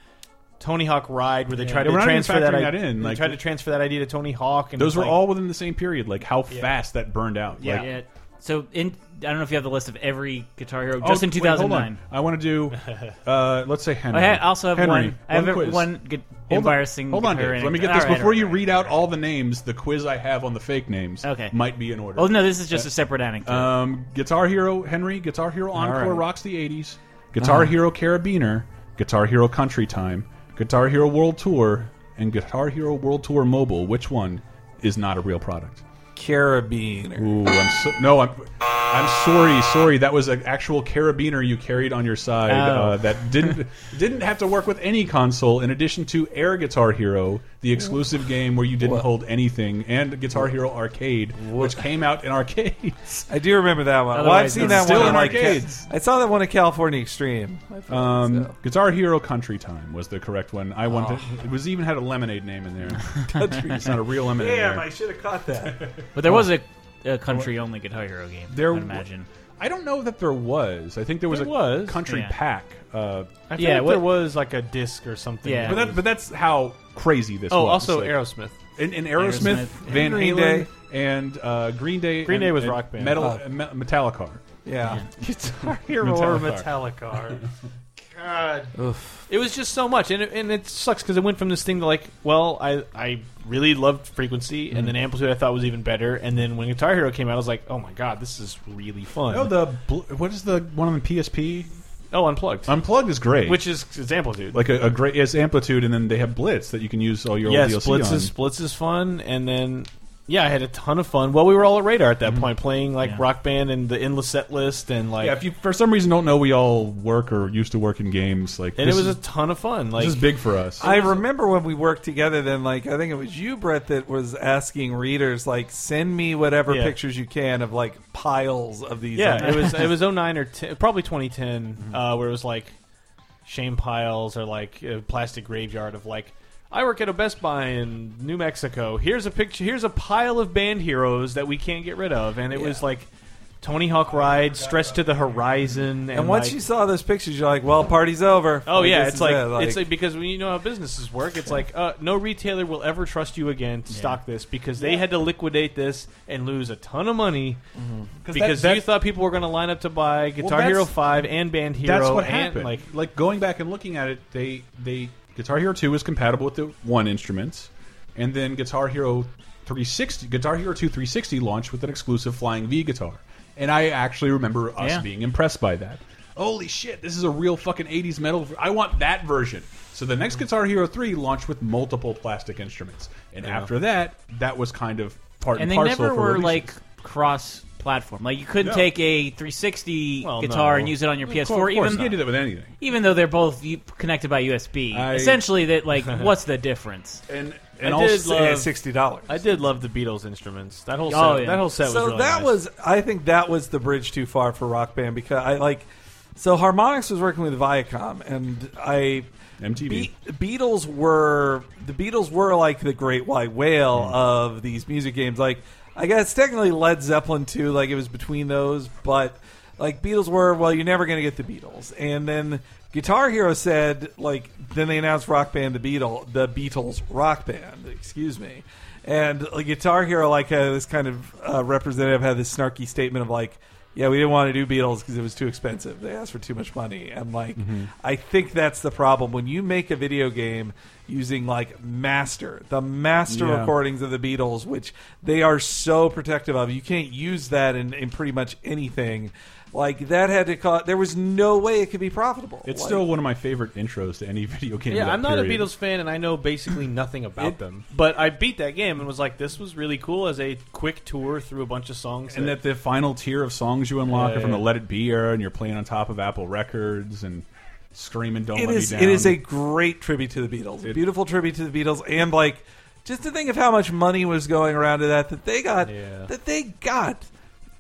C: Tony Hawk Ride where they tried
A: We're
C: to
A: not even
C: transfer that,
A: factoring
C: i-
A: that in,
C: They
A: like-
C: tried to transfer that idea to Tony Hawk, and
A: Those
C: it's
A: were
C: like-
A: all within the same period. Like how fast that burned out.
D: Yeah.
A: Like,
D: So in, I don't know if you have the list of every Guitar Hero
A: oh,
D: just in
A: wait, hold on.
D: 2009.
A: I want to do. Uh, let's say Henry.
D: I ha- also have
A: Henry,
D: one. I have a-
A: quiz.
D: one gu-
A: Hold on.
D: embarrassing.
A: Hold on,
D: Guitar
A: Dave.
D: Hero
A: Let me get
D: anecdote.
A: this
D: All right,
A: before
D: all
A: you
D: right.
A: read out all the names. The quiz I have on the fake names
D: Okay.
A: might be in order.
D: Oh no, this is
A: Uh,
D: just a separate anecdote.
A: Um, Guitar Hero Henry, Guitar Hero Encore
B: right.
A: rocks the '80s. Guitar Hero Carabiner, Guitar Hero Country Time, Guitar Hero World Tour, and Guitar Hero World Tour Mobile. Which one is not a real product?
B: Carabiner.
A: Ooh, I'm so, no, I'm I'm sorry, sorry. That was an actual carabiner you carried on your side
D: Oh.
A: uh, that didn't didn't have to work with any console. In addition to Air Guitar Hero, the exclusive game where you didn't hold anything, and Guitar Hero Arcade, which came out in arcades.
B: I do remember that one. Well, I've
D: Otherwise,
B: seen
D: it's
B: that
A: still
B: one
A: in
B: like,
A: arcades.
B: I saw that one at California Extreme. I thought
A: Um,
B: so.
A: Guitar Hero Country Time was the correct one. I
C: Oh.
A: wanted it was even had a lemonade name in there.
B: Country.
A: It's not a real lemonade.
B: Damn,
A: there.
B: I should have caught that.
D: but there was a, a country-only Guitar Hero game.
A: oh. There
D: I'd
A: w-
D: imagine.
A: I don't know that there was. I think there was
C: There
A: a
C: was.
A: country
D: Yeah.
A: pack. Uh,
C: I feel
D: Yeah,
C: like
D: what-
C: there was like a disc or something.
D: Yeah.
A: but that, but that's how crazy this
C: oh,
A: was.
C: also
A: Like,
C: Aerosmith.
A: and, and Aerosmith,
D: Aerosmith,
A: Van
B: Green
A: Halen,
B: Day.
A: and uh, Green Day.
C: Green
A: and-
C: Day was
A: and
C: rock band.
A: Metal,
B: Oh.
A: Me- Metallica.
B: Yeah.
C: Guitar Hero or
A: Metallica.
C: Metallica. God, it was just so much, and it, and it sucks because it went from this thing to like, well, I I really loved Frequency, and
D: Mm-hmm.
C: then Amplitude I thought was even better, and then when Guitar Hero came out, I was like, oh my god, this is really fun.
A: Oh, the bl- what is the one on the PSP?
C: oh Unplugged,
A: Unplugged is great.
C: which is it's Amplitude.
A: like a, a great it's amplitude, and then they have Blitz that you can use all your
C: yeah,
A: old DLC
C: Splits
A: on.
C: is Splits is fun, and then yeah, I had a ton of fun. Well, we were all at Radar at that point, playing like
D: Mm-hmm. Yeah.
C: Rock Band and the endless set list, and like
A: yeah, if you for some reason don't know, we all work or used to work in games. Like
C: and it
A: this
C: was
A: is,
C: a ton of fun. Like
A: this is big for us.
B: I remember when we worked together. Then, like, I think it was you, Brett, that was asking readers, like, send me whatever
C: Yeah.
B: pictures you can of like piles of these.
C: Yeah, it was it was 09 or 10, probably 2010
A: Mm-hmm.
C: uh, where it was like shame piles or like a plastic graveyard of like I work at a Best Buy in New Mexico. Here's a picture. Here's a pile of band heroes that we can't get rid of, and it was like Tony Hawk Ride, Stretch to the Horizon, and,
B: And once
C: like-
B: you saw those pictures, you're like, "Well, party's over."
C: Oh yeah,
B: this
C: it's
B: is
C: like,
B: it,
C: it's like because when you know how businesses work, it's like uh, no retailer will ever trust you again to stock this because they had to liquidate this and lose a ton of money because
A: that-
C: you thought people were going to line up to buy Guitar
A: that's-
C: Hero Five and Band Hero.
A: That's what
C: and,
A: happened.
C: Like,
A: like going back and looking at it, they they Guitar Hero Two is compatible with the one instruments, and then Guitar Hero 360, Guitar Hero 2 360 launched with an exclusive Flying V guitar, and I actually remember us
D: Yeah.
A: being impressed by that. Holy shit, this is a real fucking 80s metal. ver- I want that version. So the next Guitar Hero 3 launched with multiple plastic instruments, and after that, that was kind of part and,
D: and they
A: parcel
D: never
A: for
D: were
A: releases.
D: like cross-platform. Like you couldn't
A: No.
D: take a 360
C: Well,
D: guitar
C: no.
D: and use it on your
A: Of course,
D: PS4,
A: you
D: even
A: can't do that with anything.
D: even though they're both u- connected by USB.
A: I-
D: Essentially, that like, what's the difference?
A: And and
C: I
A: also,
C: did love-
B: sixty dollars.
C: I did love the Beatles instruments. That whole set,
D: Oh, yeah.
C: that whole set was
B: so
C: really
B: that
C: nice.
B: was i think that was the bridge too far for rock band because i like so harmonix was working with viacom and i
A: MTV.
B: Be- beatles were the beatles were like the great white whale
C: Mm.
B: of these music games like i guess technically led zeppelin too like it was between those but like beatles were well you're never going to get the beatles and then guitar hero said like then they announced rock band the beatle the beatles rock band excuse me and like, Guitar Hero, like had this kind of uh, representative had this snarky statement of like, "Yeah, we didn't want to do Beatles because it was too expensive. They asked for too much money." And like,
A: Mm-hmm.
B: I think that's the problem when you make a video game using like master, the master
A: Yeah.
B: recordings of the Beatles, which they are so protective of. You can't use that in, in pretty much anything. Like that had to cost. There was no way it could be profitable.
A: It's
B: Like,
A: still one of my favorite intros to any video game. of
C: Yeah,
A: that
C: I'm not
A: period.
C: a Beatles fan, and I know basically nothing about them. But I beat that game and was like, "This was really cool." As a quick tour through a bunch of songs,
A: And
C: that-
A: that the final tier of songs you unlock
C: Yeah,
A: are from
C: yeah.
A: the Let It Be era, and you're playing on top of Apple Records and screaming "Don't
B: It
A: Let
B: is.
A: Me
B: It
A: Down."
B: is a great tribute to the Beatles.
A: It-
B: Beautiful tribute to the Beatles, and like just to think of how much money was going around to that that they got.
C: Yeah.
B: That they got.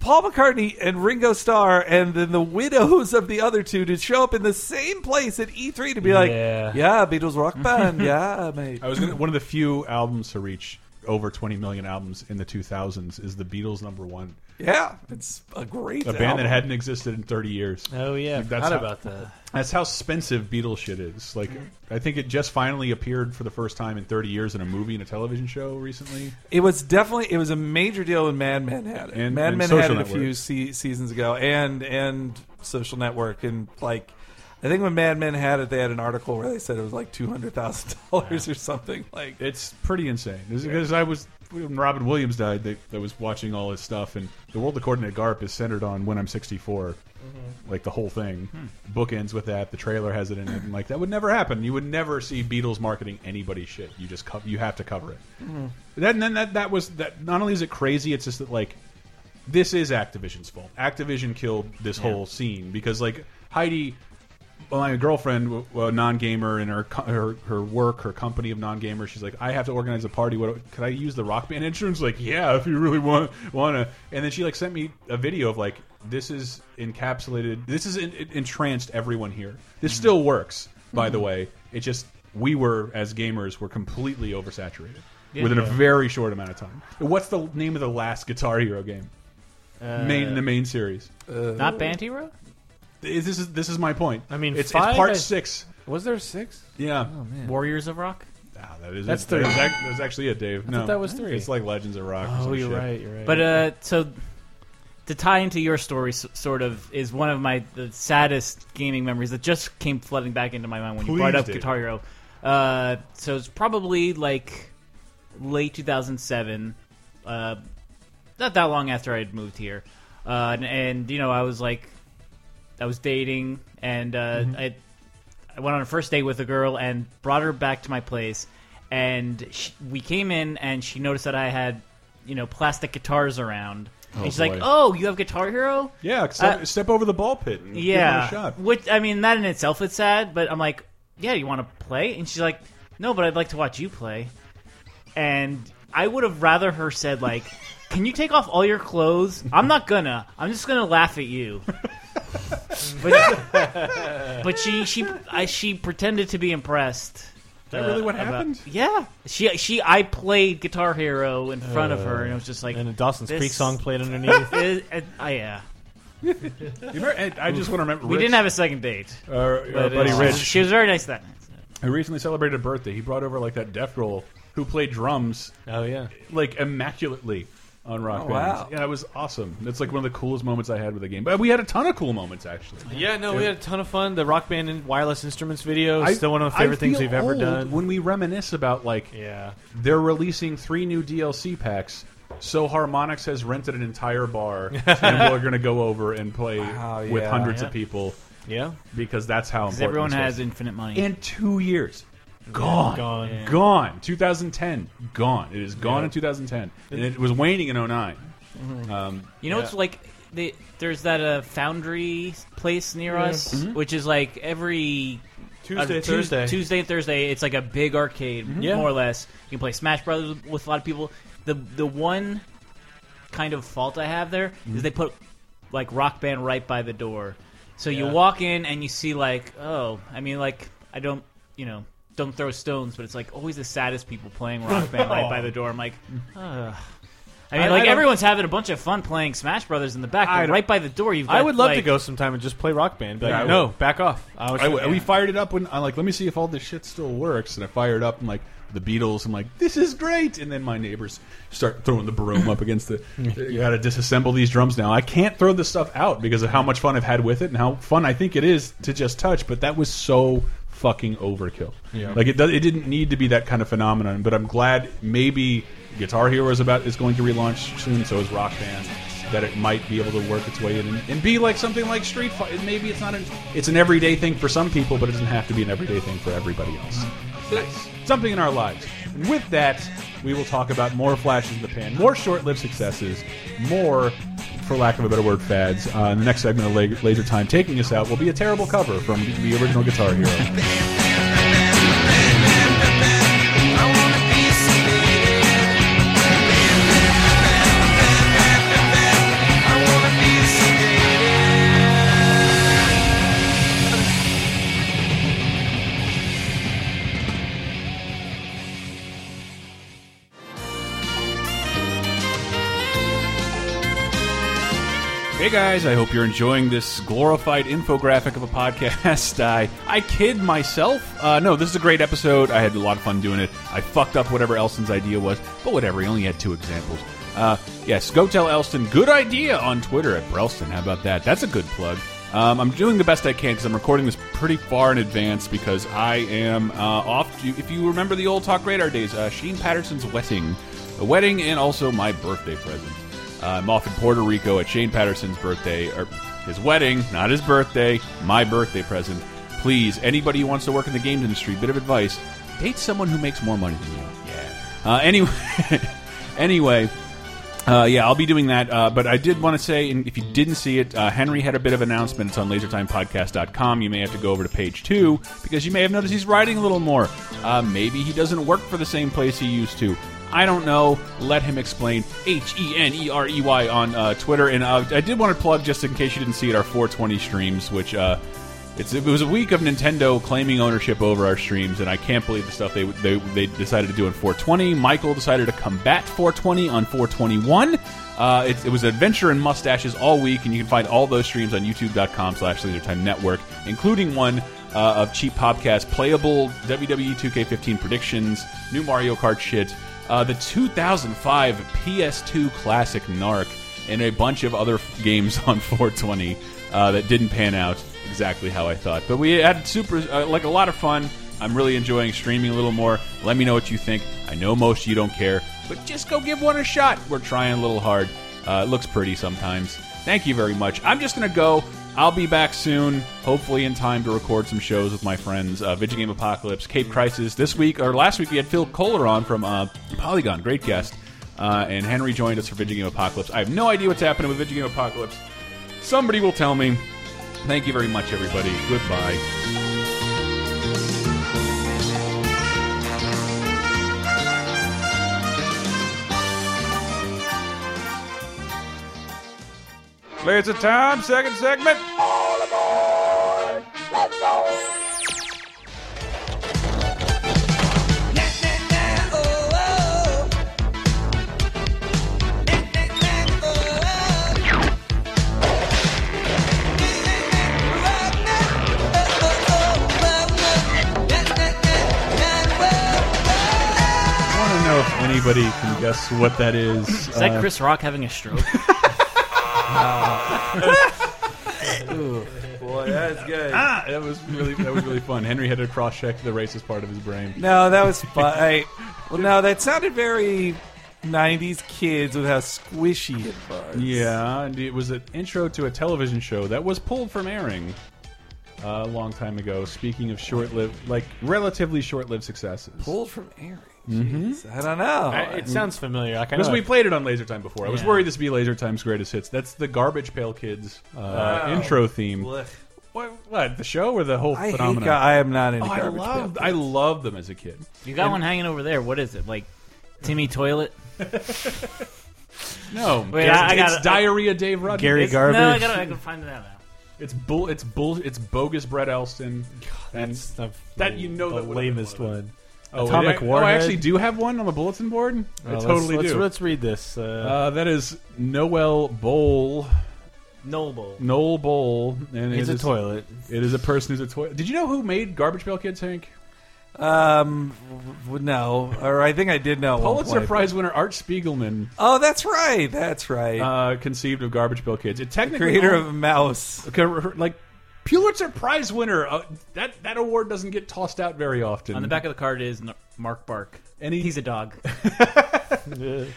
B: Paul McCartney and Ringo Starr, and then the widows of the other two to show up in the same place at E3 to be like,
C: Yeah.
B: yeah Beatles rock band, yeah, mate.
A: I was gonna, one of the few albums to reach over 20 million albums in the 2000s. Is the Beatles number one?
B: Yeah, it's a great
A: a band
B: album.
A: that hadn't existed in 30 years.
C: Oh yeah,
A: Like, that's
C: forgot
A: how-
C: about that.
A: That's how expensive Beatles shit is. Like, I think it just finally appeared for the first time in 30 years in a movie and a television show recently.
B: It was definitely it was a major deal when Mad Men had it.
A: And-
B: Mad
A: and
B: Men
A: Social
B: had it a
A: Network.
B: few se- seasons ago, and and Social Network, and like I think when Mad Men had it, they had an article where they said it was like two hundred thousand dollars or something. Like
A: It's pretty insane. Because I was when Robin Williams died, they, I was watching all his stuff, and the world according to Garp is centered on when I'm 64, like the whole thing. Book ends with that. The trailer has it in it, and like that would never happen. You would never see Beatles marketing anybody's shit. You just co you have to cover it. That and then that that was that. Not only is it crazy, it's just that like this is Activision's fault. Activision killed this whole scene because like Heidi well, my girlfriend, a non-gamer, and her co- her her work, her company of non-gamers, she's like, I have to organize a party. What could I use the rock band insurance? Like, yeah, if you really want wanna. And then she like sent me a video of like, this is encapsulated. This is en entranced everyone here. This still works, by the way. It just we were as gamers were completely oversaturated within a very short amount of time. What's the name of the last Guitar Hero game? main
C: Uh,
A: in the main series.
D: Not Band Hero?
A: This is this is my point.
C: I mean,
A: it's, it's
C: five,
A: part
C: I-
A: six.
C: Was there six?
A: Yeah.
D: Oh, Warriors of Rock?
A: Ah, that is
C: That's
A: it.
C: three.
A: That's, ac- that's actually it, Dave. no,
C: that was three. Oh,
A: It's like Legends of Rock. or some shit.
C: You're right.
D: But uh, so to tie into your story, s- sort of, is one of my the saddest gaming memories that just came flooding back into my mind when you brought
A: Please
D: up
A: do.
D: Guitar Hero. Uh, so it's probably like late 2007, uh, not that long after I had moved here, uh, and, and you know I was like, I was dating, and uh, I. I went on a first date with a girl and brought her back to my place. And she, we came in, and she noticed that I had, you know, plastic guitars around. and she's
A: boy.
D: like, "Oh, you have Guitar Hero?
A: Yeah, step,
D: Uh,
A: step over the ball pit. And
D: Yeah."
A: Give it a shot.
D: Which I mean, that in itself is sad, but I'm like, "Yeah, you want to play?" And she's like, "No, but I'd like to watch you play." And I would have rather her said like, "Can you take off all your clothes?" I'm not gonna. I'm just gonna laugh at you. but, but she she I, she pretended to be impressed. uh,
A: that really what
D: about-
A: happened?
D: Yeah, she she I played Guitar Hero in front of
A: Uh,
D: her, and it was just like,
C: and a Dawson's
D: this-
C: Creek song played underneath.
D: it- it- I, yeah.
A: You remember- and I just want to remember.
D: We
A: Rich,
D: didn't have a second date,
A: uh, our
D: but
A: buddy
D: uh,
A: Rich,
D: She was very nice that night.
A: who recently celebrated a birthday. He brought over like that deaf girl who played drums
C: oh yeah.
A: like immaculately on Rock
B: Oh,
A: Band.
B: wow.
A: Yeah, it was awesome. That's like one of the coolest moments I had with the game. But we had a ton of cool moments actually.
C: Yeah, no, we had a ton of fun. The rock band and wireless instruments video
A: I-
C: is still one of my favorite
A: I
C: things
A: feel
C: we've ever
A: old
C: done.
A: When we reminisce about like
C: Yeah.
A: They're releasing three new DLC packs. So Harmonix has rented an entire bar, and we're going to go over and play
B: Wow,
A: with
B: yeah.
A: hundreds of
C: Yeah.
A: people
C: Yeah.
A: because that's how
D: Because
A: important.
D: everyone
A: this
D: has
A: was.
D: infinite money.
A: in two years, gone,
C: gone.
A: gone, 2010, gone. It is gone in 2010, and it was waning in 09. Um,
D: you know, it's like they, there's that uh, foundry place near us, which is like every
C: Tuesday,
D: uh, Tues-
C: Thursday. Mm-hmm.
D: Tuesday and Thursday. It's like a big arcade,
C: Yeah.
D: more or less. You can play Smash Brothers with a lot of people. The the one kind of fault I have there is
C: Mm-hmm.
D: they put like Rock Band right by the door, so you
C: Yeah.
D: walk in and you see like oh, I mean like I don't you know don't throw stones, but it's like always the saddest people playing Rock Band right by the door. I'm like. Ugh. I mean,
C: Mm. I- I
D: like
C: don't-
D: everyone's having a bunch of fun playing Smash Brothers in the back,
A: I
D: but
A: don't-
D: right by the door. You've got,
C: I would love to
D: like-
C: go sometime and just play rock band. But
A: Yeah, I
C: no,
A: would.
C: back off. I was
A: I, we fired it up when I'm like, let me see if all this shit still works. And I fired up and like the Beatles. I'm like, this is great. And then my neighbors start throwing the broom up against the. You got to disassemble these drums now. I can't throw this stuff out because of how much fun I've had with it and how fun I think it is to just touch. But that was so fucking overkill.
C: Yeah.
A: Like it, does, it didn't need to be that kind of phenomenon. But I'm glad maybe Guitar Hero is about is going to relaunch soon. So is Rock Band. That it might be able to work its way in and, and be like something like Street Fighter. Maybe it's not an it's an everyday thing for some people, but it doesn't have to be an everyday thing for everybody else. Nice. Something in our lives. And with that, we will talk about more flashes in the pan, more short-lived successes, more, for lack of a better word, fads. Uh, in the next segment of La- Laser Time, taking us out, will be a terrible cover from the original Guitar Hero. Hey guys, I hope you're enjoying this glorified infographic of a podcast. I I kid myself. Uh, no, this is a great episode. I had a lot of fun doing it. I fucked up whatever Elston's idea was, but whatever. He only had two examples. Uh, yes, go tell Elston good idea on Twitter at Brelston. How about that? That's a good plug. Um, I'm doing the best I can because I'm recording this pretty far in advance because I am uh, off. To, if you remember the old Talk Radar days, uh, Sheen Patterson's wedding, a wedding, and also my birthday present. Uh, I'm off in Puerto Rico at Shane Patterson's birthday, or his wedding, not his birthday, my birthday present. Please, anybody who wants to work in the games industry, bit of advice: date someone who makes more money than you. Yeah. Uh, anyway, anyway. Uh, yeah, I'll be doing that. Uh, but I did want to say, and if you didn't see it, uh, Henry had a bit of announcement. It's on lasertimepodcast.com. You may have to go over to page two because you may have noticed he's writing a little more. Uh, maybe he doesn't work for the same place he used to. I don't know. Let him explain. H E N E R E Y on uh, Twitter. And uh, I did want to plug, just in case you didn't see it, our 420 streams, which. Uh, it's, it was a week of Nintendo claiming ownership over our streams, and I can't believe the stuff they, they they decided to do in 420. Michael decided to combat 420 on 421. Uh, it, it was adventure and mustaches all week, and you can find all those streams on YouTube.com/slash LaserTime Network, including one uh, of cheap podcast playable E WWE 2K15 predictions, new Mario Kart shit, uh, the 2005 PS2 classic Narc and a bunch of other f- games on 420 uh, that didn't pan out exactly how I thought. But we had super, uh, like a lot of fun. I'm really enjoying streaming a little more. Let me know what you think. I know most of you don't care, but just go give one a shot. We're trying a little hard. Uh, it looks pretty sometimes. Thank you very much. I'm just gonna go. I'll be back soon, hopefully in time to record some shows with my friends. Uh, Video Game Apocalypse, Cape Crisis. This week or last week we had Phil Kohler on from uh, Polygon, great guest. Uh, and Henry joined us for Video Game Apocalypse. I have no idea what's happening with Video Game Apocalypse. Somebody will tell me. Thank you very much, everybody. Goodbye. Clears the time, second segment. I want to know if anybody can guess what that is. Uh,
D: Is that
C: Uh,
D: Chris Rock having a stroke?
C: Boy, that's good.
A: Ah, that was really that was really fun. Henry had to cross check the racist part of his brain.
B: No, that was fun. I, well, no, that sounded very '90s kids with how squishy it was.
A: Yeah, and it was an intro to a television show that was pulled from airing uh, a long time ago. Speaking of short-lived, like relatively short-lived successes,
B: pulled from Eric. Jeez, Mm-hmm. I don't know.
C: I- it sounds familiar. I kind
A: because
C: of
A: we played it on Laser Time before. I was
D: Yeah.
A: worried this would be Laser Time's greatest hits. That's the Garbage Pail Kids uh, intro theme.
B: Blech.
A: What, what, the show or the whole
B: I hate.
A: phenomenon?
B: Gar- I am not
A: Oh,
B: into
A: I
B: garbage.
A: loved,
B: Pail
A: I loved them as a kid.
D: You got one hanging over there. What is it? Like Timmy Toilet?
A: No,
D: Wait,
A: it's,
D: I- I
A: it's
D: gotta-
A: Diarrhea Dave Rudman.
C: Gary
D: It's- No, I
C: Garbage.
D: gotta, I gotta find it out now.
A: It's bull. It's bull. It's bogus. Brett Elston. And-
C: That's the,
A: That you know
C: the
A: that would've been
C: lamest
A: one
C: one.
A: oh,
C: Atomic
A: I, Oh, I
C: Warhead.
A: actually do have one on the bulletin board. I
C: Uh, let's-
A: totally
C: let's,
A: do.
C: Let's read this. Uh,
A: uh, that is Noel Bowl.
D: Noble.
A: Noel Bowl. And
C: it's
A: it
C: a
A: is-
C: toilet.
A: It is a person who's a toy. Did you know who made Garbage Pail Kids, Hank?
B: Pail. Um, w- no, or I think I did know. at
C: Oh,
B: one
A: Pulitzer
B: point.
A: Prize winner Art Spiegelman
B: Oh, that's right. That's right.
A: uh, conceived of Garbage Pail Kids. It technically
B: Creator of Mouse.
A: Okay, r- like Pulitzer Prize winner. Uh, that that award doesn't get tossed out very often.
D: On the back of the card is N- Mark Bark.
A: And he-
D: he's a dog.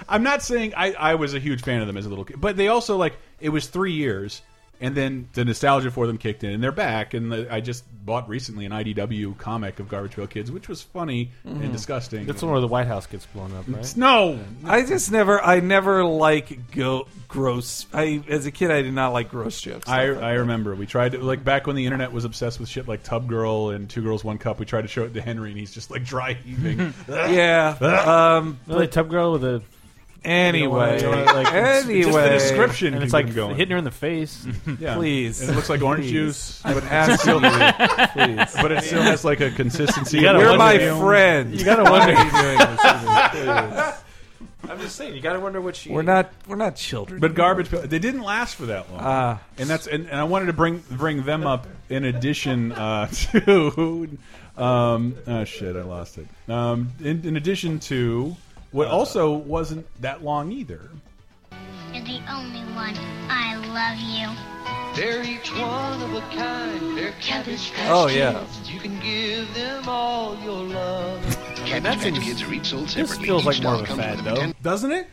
A: I'm not saying I, I was a huge fan of them as a little kid, but they also like it was three years, and then the nostalgia for them kicked in, and they're back. And the, I just bought recently an IDW comic of Garbage Pail Kids, which was funny and disgusting.
C: That's the one where the White House gets blown up, right?
A: no,
B: I just never, I never like go gross. I as a kid, I did not like gross jokes.
A: I I remember we tried to like back when the internet was obsessed with shit like Tub Girl and Two Girls One Cup. We tried to show it to Henry, and he's just like dry heaving.
B: yeah. Um.
C: No, the tub girl with a
B: Anyway.
C: You know, like, it's-
B: anyway.
C: it's
A: just the description
C: and
A: can
C: it's like
A: keep going.
C: hitting her in the face.
A: Yeah.
B: Please.
A: And it looks like orange juice, but,
B: Absolutely.
A: but it still has like a consistency.
C: You gotta
A: of
B: You're
C: wonder-
B: my
A: oatmeal.
B: friend.
C: you gotta wonder.
A: I
C: I'm just saying, you gotta wonder what she.
B: We're not we're not children.
A: But garbage. Pail- They didn't last for that long.
B: Ah.
A: and that's and, and I wanted to bring bring them up in addition uh, to. Um, oh shit! I lost it. Um, in, in addition to what also wasn't that long either.
F: You're the only one. I love you.
G: They're each one of a kind. They're cabbage patch
B: Oh, yeah.
G: kids. You can give them all your love. cabbage patch kids are each sold separately.
C: feels like
G: Each
C: more
G: doll
C: of a
G: comes
C: fad,
G: with a
C: though.
G: ten-
A: doesn't it?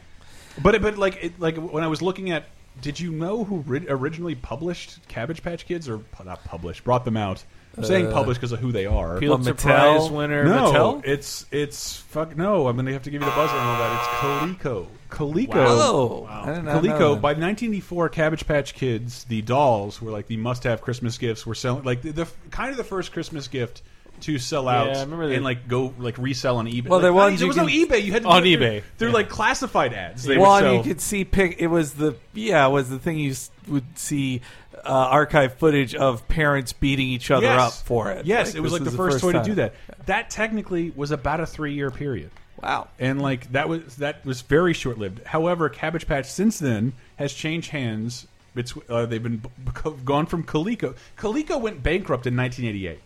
A: But it- but like it, like when I was looking at, did you know who ri originally published Cabbage Patch Kids or pu- not published, brought them out? I'm saying published because of who they are.
C: Pulitzer
B: Mattel?
C: Prize winner
A: no,
C: Mattel.
A: it's it's fuck no. I'm gonna have to give you the buzzer on all that. It's Coleco. Coleco.
B: Oh, I did not know
A: Coleco
B: that.
A: by 1984, Cabbage Patch Kids, the dolls were like the must-have Christmas gifts. Were selling like the, the kind of the first Christmas gift to sell out
C: I remember they-
A: and like go like resell on eBay.
B: Well,
A: Like,
B: they're
A: not-
B: ones
A: there
B: you
A: was no
B: can-
A: eBay. You had to
C: On
A: do it through-
C: eBay.
A: Through like classified ads. They
B: well,
A: would
B: and
A: sell.
B: you could see pic. It was the yeah, it was the thing you s- would see uh, archive footage of parents beating each other up for it.
A: Yes, it was
B: this
A: like the first, toy to
B: time.
A: do that. That technically was about a three-year period.
B: Wow.
A: and like that was that was very short lived. However, Cabbage Patch since then has changed hands. Between, uh, they've been b- b- gone from Coleco. Coleco went bankrupt in 1988.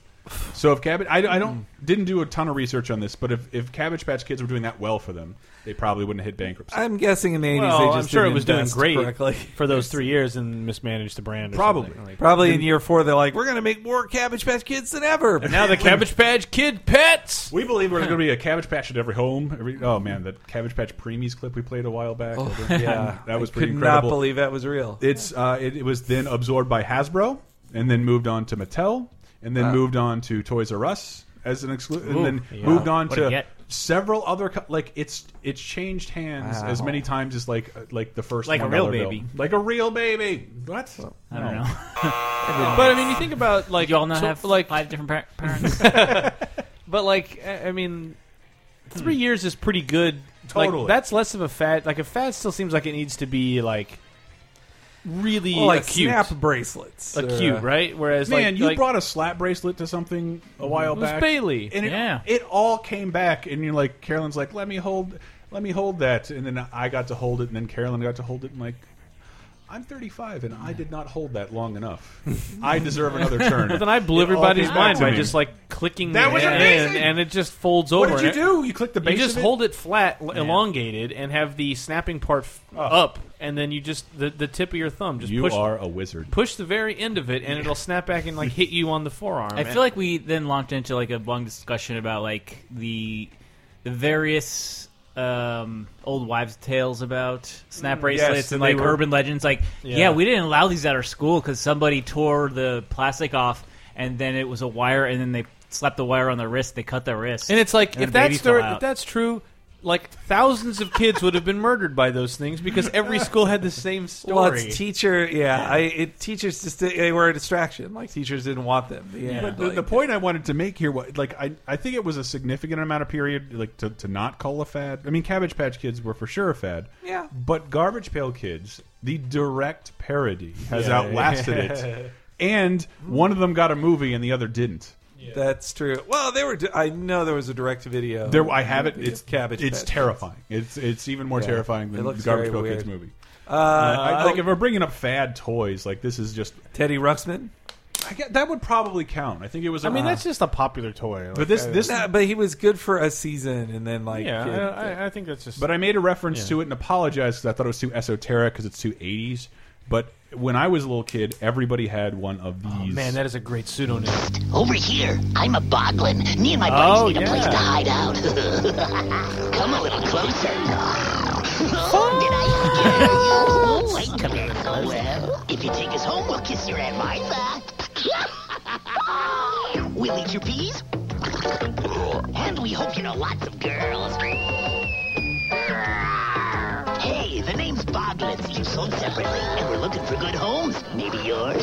A: So if Cabbage, I, I don't
B: Mm-hmm.
A: didn't do a ton of research on this, but if, if Cabbage Patch Kids were doing that well for them, they probably wouldn't have hit bankruptcy.
B: I'm guessing in the 80s
C: Well,
B: they
C: I'm
B: just
C: sure it
B: didn't
C: was doing
B: invest
C: great
B: correctly.
C: for those three years and mismanaged the brand. Or
A: Probably.
C: something. Like-
B: Probably in year four they're like, we're gonna make more Cabbage Patch Kids than ever. But
C: now the Cabbage Patch Kid pets.
A: we believe we're going to be a Cabbage Patch at every home. Every, oh man, that Cabbage Patch Preemies clip we played a while back.
B: yeah,
A: that was
B: Oh. I
A: pretty
B: could
A: incredible.
B: Not believe that was real.
A: It's uh, it, it was then absorbed by Hasbro, and then moved on to Mattel, and then moved on to Toys R Us as an exclusive, and then
C: yeah.
A: moved on
D: What a
A: to
D: get.
A: several other co like it's it's changed hands as many times as like uh, like the first
D: Like a
A: $1
D: real
A: bill.
D: baby.
A: like a real baby. What?
D: I don't know.
C: But I mean, you think about like
D: You all now
C: so-
D: have
C: like
D: five different par- parents.
C: But like, I I mean, three years is pretty good. Like,
A: Totally.
C: that's less of a fad. Like a fad still seems like it needs to be like really
B: Well, Oh, like
C: acute,
B: snap bracelets, or,
C: acute,
B: uh,
C: right? Whereas
A: Man,
C: like,
A: you
C: like,
A: brought a slap bracelet to something a while
C: it was
A: back,
C: Bailey.
A: and it,
D: Yeah.
A: it all came back. And you're like, Carolyn's like, let me hold, let me hold that, and then I got to hold it, and then Carolyn got to hold it, and like. I'm 35 and I did not hold that long enough. I deserve another turn.
C: But then I blew
A: It all
C: everybody's
A: came back
C: mind
A: to
C: by
A: me.
C: just like clicking
A: That
C: the
A: was
C: hand,
A: amazing!
C: and it just folds
A: What
C: over.
A: did
C: and
A: you
C: it-
A: do? You click the base.
C: You just
A: of it?
C: hold it flat, l elongated, and have the snapping part f-
A: Oh.
C: up, and then you just the, the tip of your thumb just
A: You
C: push
A: are a wizard.
C: push the very end of it, and it'll snap back and like hit you on the forearm.
D: I feel like we then launched into like a long discussion about like the the various um, old wives' tales about snap bracelets
A: yes,
D: and
A: and they
D: like
A: were-
D: urban legends. Like, yeah.
C: Yeah.
D: we didn't allow these at our school because somebody tore the plastic off, and then it was a wire, and then they slapped the wire on the wrist. They cut their wrist,
C: And it's like
D: And
C: if
D: the baby
C: that's
D: fell
C: the,
D: out.
C: if that's true, like thousands of kids would have been murdered by those things because every school had the same story.
B: Well, it's teacher. Yeah, I, it teachers just they were a distraction. Like teachers didn't want them. Yeah,
A: But the, the point I wanted to make here was like I, I think it was a significant amount of period like to, to not call a fad. I mean, Cabbage Patch Kids were for sure a fad.
B: Yeah.
A: But Garbage Pail Kids, the direct parody, has
C: Yeah.
A: outlasted it. And one of them got a movie and the other didn't.
B: That's true. Well, they were. I know there was a direct video. Uh,
A: There, I have it.
B: Video.
A: It's It's
B: Patch.
A: terrifying. It's it's even more
B: Yeah.
A: terrifying
B: It
A: than the
B: looks
A: Garbage
B: very
A: Pail Kids
B: weird.
A: movie.
B: Uh,
A: I, like if we're bringing up fad toys, like this is just
B: Teddy Ruxpin.
A: I get, that would probably count. I think it was.
C: I mean, that's just a popular toy. Like,
A: but this this
B: Nah, but he was good for a season, and then like
C: yeah,
B: it-
C: I, I, I think that's just.
A: But I made a reference
C: Yeah.
A: to it and apologized because I thought it was too esoteric because it's too 80s. But when I was a little kid, everybody had one of these.
C: Oh, man, that is a great pseudonym.
H: Over here, I'm a boglin. Me and my buddies
C: Oh,
H: need a place
C: yeah.
H: to hide out. come a little closer. Oh, did Oh, I scare you? Wait, come here closer. Well, if you take us home, we'll kiss your Aunt Martha. we'll eat your peas. And we hope you know lots of girls. Hey, the name's Boglins. You sold separately, and we're looking for good homes. Maybe yours?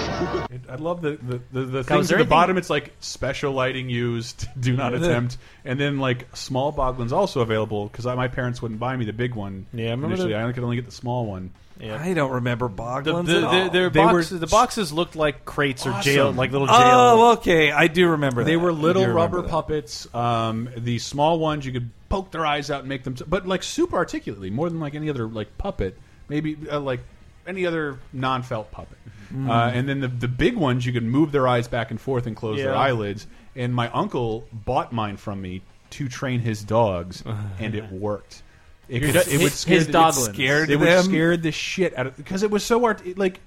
A: It- I love the the, the, the things
D: there
A: at the
D: anything-
A: bottom. It's like special lighting used. Do not attempt. And then like small boglins also available because my parents wouldn't buy me the big one.
C: Yeah, I remember
A: initially
C: the-
A: I could only get the small one.
B: I don't remember
C: The, the,
B: Boglins at all.
C: the, their
A: They
C: boxes,
A: were-
C: the boxes looked like crates or jail,
A: Awesome.
C: like little jail.
B: oh, okay, I do remember.
A: They
B: that.
A: were
B: I do
A: little
B: remember
A: rubber
B: that.
A: puppets. Um, the small ones you could poke their eyes out and make them, but like super articulately, more than like any other like puppet, maybe uh, like any other non-felt puppet. Uh, and then the the big ones, you could move their eyes back and forth and close their
C: Yeah.
A: eyelids. And my uncle bought mine from me to train his dogs, and it worked. It, could- it would
D: his-
A: scare
D: his
A: the-
D: doglins.
A: It scared
B: It
A: would
B: would
A: scare the shit out of because it was so art it, like.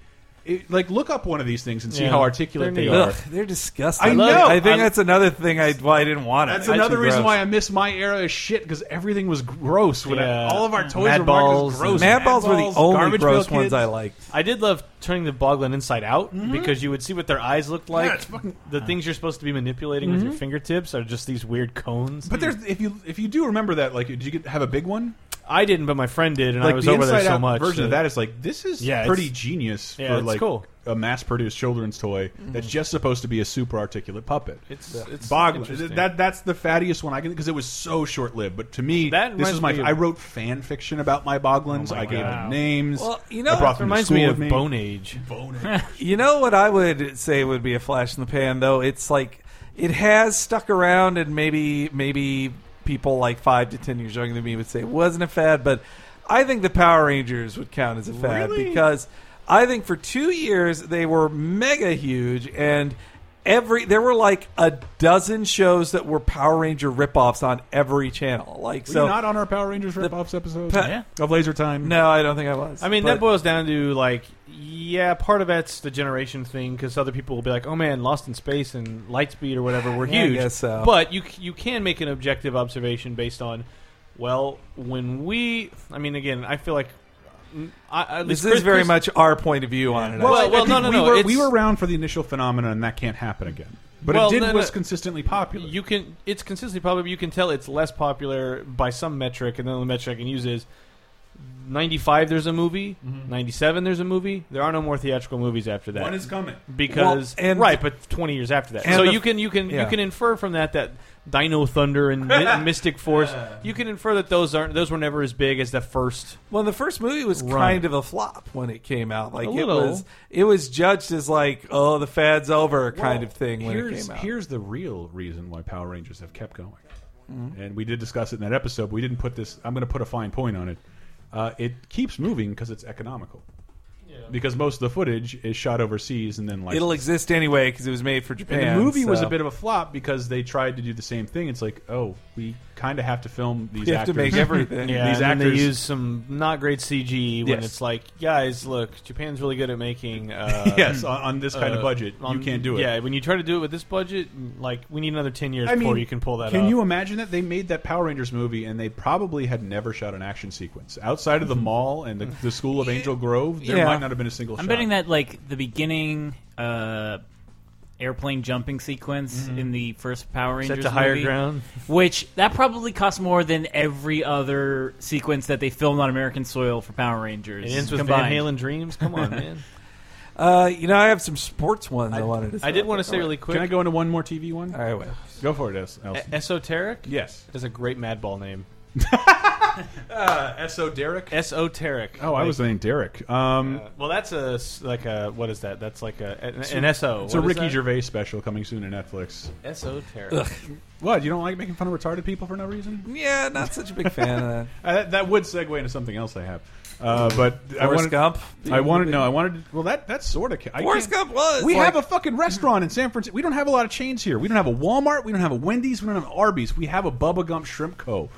A: It, like look up one of these things and see
C: Yeah.
A: how articulate
C: They're
A: they
C: neat.
A: are.
B: Ugh, they're disgusting.
A: I know.
B: I think
A: I-
B: that's another thing I why I didn't want it.
A: That's
B: It's
A: another
B: too
A: reason
B: gross.
A: why I miss my era of shit because everything was gross. When I-
C: Yeah.
A: all of our toys
C: Mad
A: were marked
C: balls
A: as
C: and-
A: gross.
B: Mad balls were the only
A: Garbage Pail
B: gross ones
A: Kids.
B: I liked.
C: I did love turning the boglin inside out because you would see what their eyes looked like.
A: Mm-hmm. it's fucking- Mm-hmm.
C: the things you're supposed to be manipulating with your fingertips are just these weird cones.
A: But there's if you if you do remember that, like, did you get, have a big one?
C: I didn't, but my friend did, and
A: Like
C: I was
A: the
C: over there
A: inside
C: so
A: out
C: much.
A: version of
C: that-
A: that is like this is
C: Yeah,
A: pretty
C: it's-
A: genius
C: yeah,
A: for
C: it's
A: like
C: cool.
A: a mass-produced children's toy that's just supposed to be a super articulate puppet.
C: Mm-hmm. It's, it's
A: Boglin.
C: interesting.
A: That that's the fattiest one I can because it was so short lived. But to me,
C: That
A: this
C: reminds
A: is my.
C: me of-
A: I wrote fan fiction about my Boglins.
C: Oh my
A: I gave
C: God.
A: them names.
B: Well, you know,
A: I brought
B: it
A: them to
C: reminds
A: school
C: me
A: with
C: of
A: me.
C: Bone Age.
A: Bone.
B: You know what I would say would be a flash in the pan, though. It's like it has stuck around, and maybe maybe people like five to ten years younger than me would say it wasn't a fad, but I think the Power Rangers would count as a fad
A: Really?
B: because I think for two years they were mega huge and. Every there were like a dozen shows that were Power Ranger ripoffs on every channel. Like
A: Were
B: so,
A: you not on our Power Rangers ripoffs episode
B: Pa-
D: Yeah.
A: of Laser Time?
B: no, I don't think I was.
C: I mean,
B: But-
C: that boils down to like, yeah, part of that's the generation thing because other people will be like, "Oh man, Lost in Space and Lightspeed or whatever were
B: Yeah, I
C: huge."
B: guess so.
C: But you c- you can make an objective observation based on, well, when we, I mean, again, I feel like, mm, I, at least
B: this is
C: Chris-
B: very
C: Chris-
B: much our point of view on it. I
C: Well,
A: I- I
C: well,
A: think
C: no, no,
A: we
C: no,
A: Were,
C: it's-
A: we were around for the initial phenomenon, and that can't happen again. But
C: Well,
A: it did
C: no, no.
A: was consistently popular.
C: You can it's consistently popular. But you can tell it's less popular by some metric, and then the metric I can use is. 95 there's a movie 97 there's a movie there are no more theatrical movies after that
A: one is coming.
C: because
B: Well, and-
C: right, but twenty years after that.
B: And
C: So
B: the-
C: you can you can
B: yeah.
C: you can infer from that that Dino Thunder and Mi- Mystic Force. You can infer that those aren't those were never as big as the first.
B: Well, the first movie was
C: Right.
B: kind of a flop when it came out. Like
C: A
B: it
C: little.
B: was, it was judged as like, oh, the fad's over kind of thing when it
A: here's,
B: came out.
A: Here's the real reason why Power Rangers have kept going.
B: Mm-hmm.
A: And we did discuss it in that episode, but we didn't put this. I'm going to put a fine point on it. Uh, it keeps moving because it's economical. Because most of the footage is shot overseas and then like
B: It'll exist anyway because it was made for Japan.
A: And the movie was
B: so-
A: a bit of a flop because they tried to do the same thing. It's like, oh, we kind of have to film these
B: You have to
A: actors.
B: make everything.
A: Yeah, These
C: and then
A: actors-
C: they use some not great CG when
A: Yes.
C: it's like, guys, look, Japan's really good at making. Uh,
A: yes, on, on this kind of
C: uh,
A: budget,
C: on-
A: you can't do it.
C: Yeah, when you try to do it with this budget, like we need another ten years
A: I
C: before
A: mean,
C: you can pull that.
A: Can
C: off.
A: you imagine that they made that Power Rangers movie and they probably had never shot an action sequence outside
C: Mm-hmm.
A: of the mall and the, the School of Angel Grove? There
B: Yeah.
A: might not have been a single.
D: I'm
A: shot.
D: betting that like the beginning uh, airplane jumping sequence in the first Power
C: set
D: Rangers
C: to higher
D: movie,
C: ground?
D: which that probably cost more than every other sequence that they filmed on American soil for Power Rangers.
C: It ends with
D: combined.
C: Van Halen dreams. Come on, man.
B: Uh, you know, I have some sports ones I, wanted to.
C: I did want to
B: to
C: say really quick. e-,
A: Can I go into one more TV one?
B: All right, wait.
A: Go for it, Es-
D: Eh,
A: Elson.
C: Esoteric.
A: yes.
C: That's a great Madball name.
A: Uh, so Derek.
C: Esoteric.
A: Oh, I was saying Derek. Um,
D: Uh,
C: Well, that's a s- like a what is that? That's like a an, an SO.
A: it's a Ricky Gervais special coming soon to Netflix.
C: Esoteric.
A: What? You don't like making fun of retarded people for no reason?
B: Yeah, not such a big fan of that.
A: Uh, that, that would segue into something else I have, uh, but I
B: Forrest
A: wanted,
B: Gump.
A: I wanted no, I wanted. Well, that that's sort of.
B: Forrest Gump was.
A: We
B: like,
A: have a fucking restaurant in San Francisco. We don't have a lot of chains here. We don't have a Walmart. We don't have a Wendy's. We don't have an Arby's. We have a Bubba Gump Shrimp Co.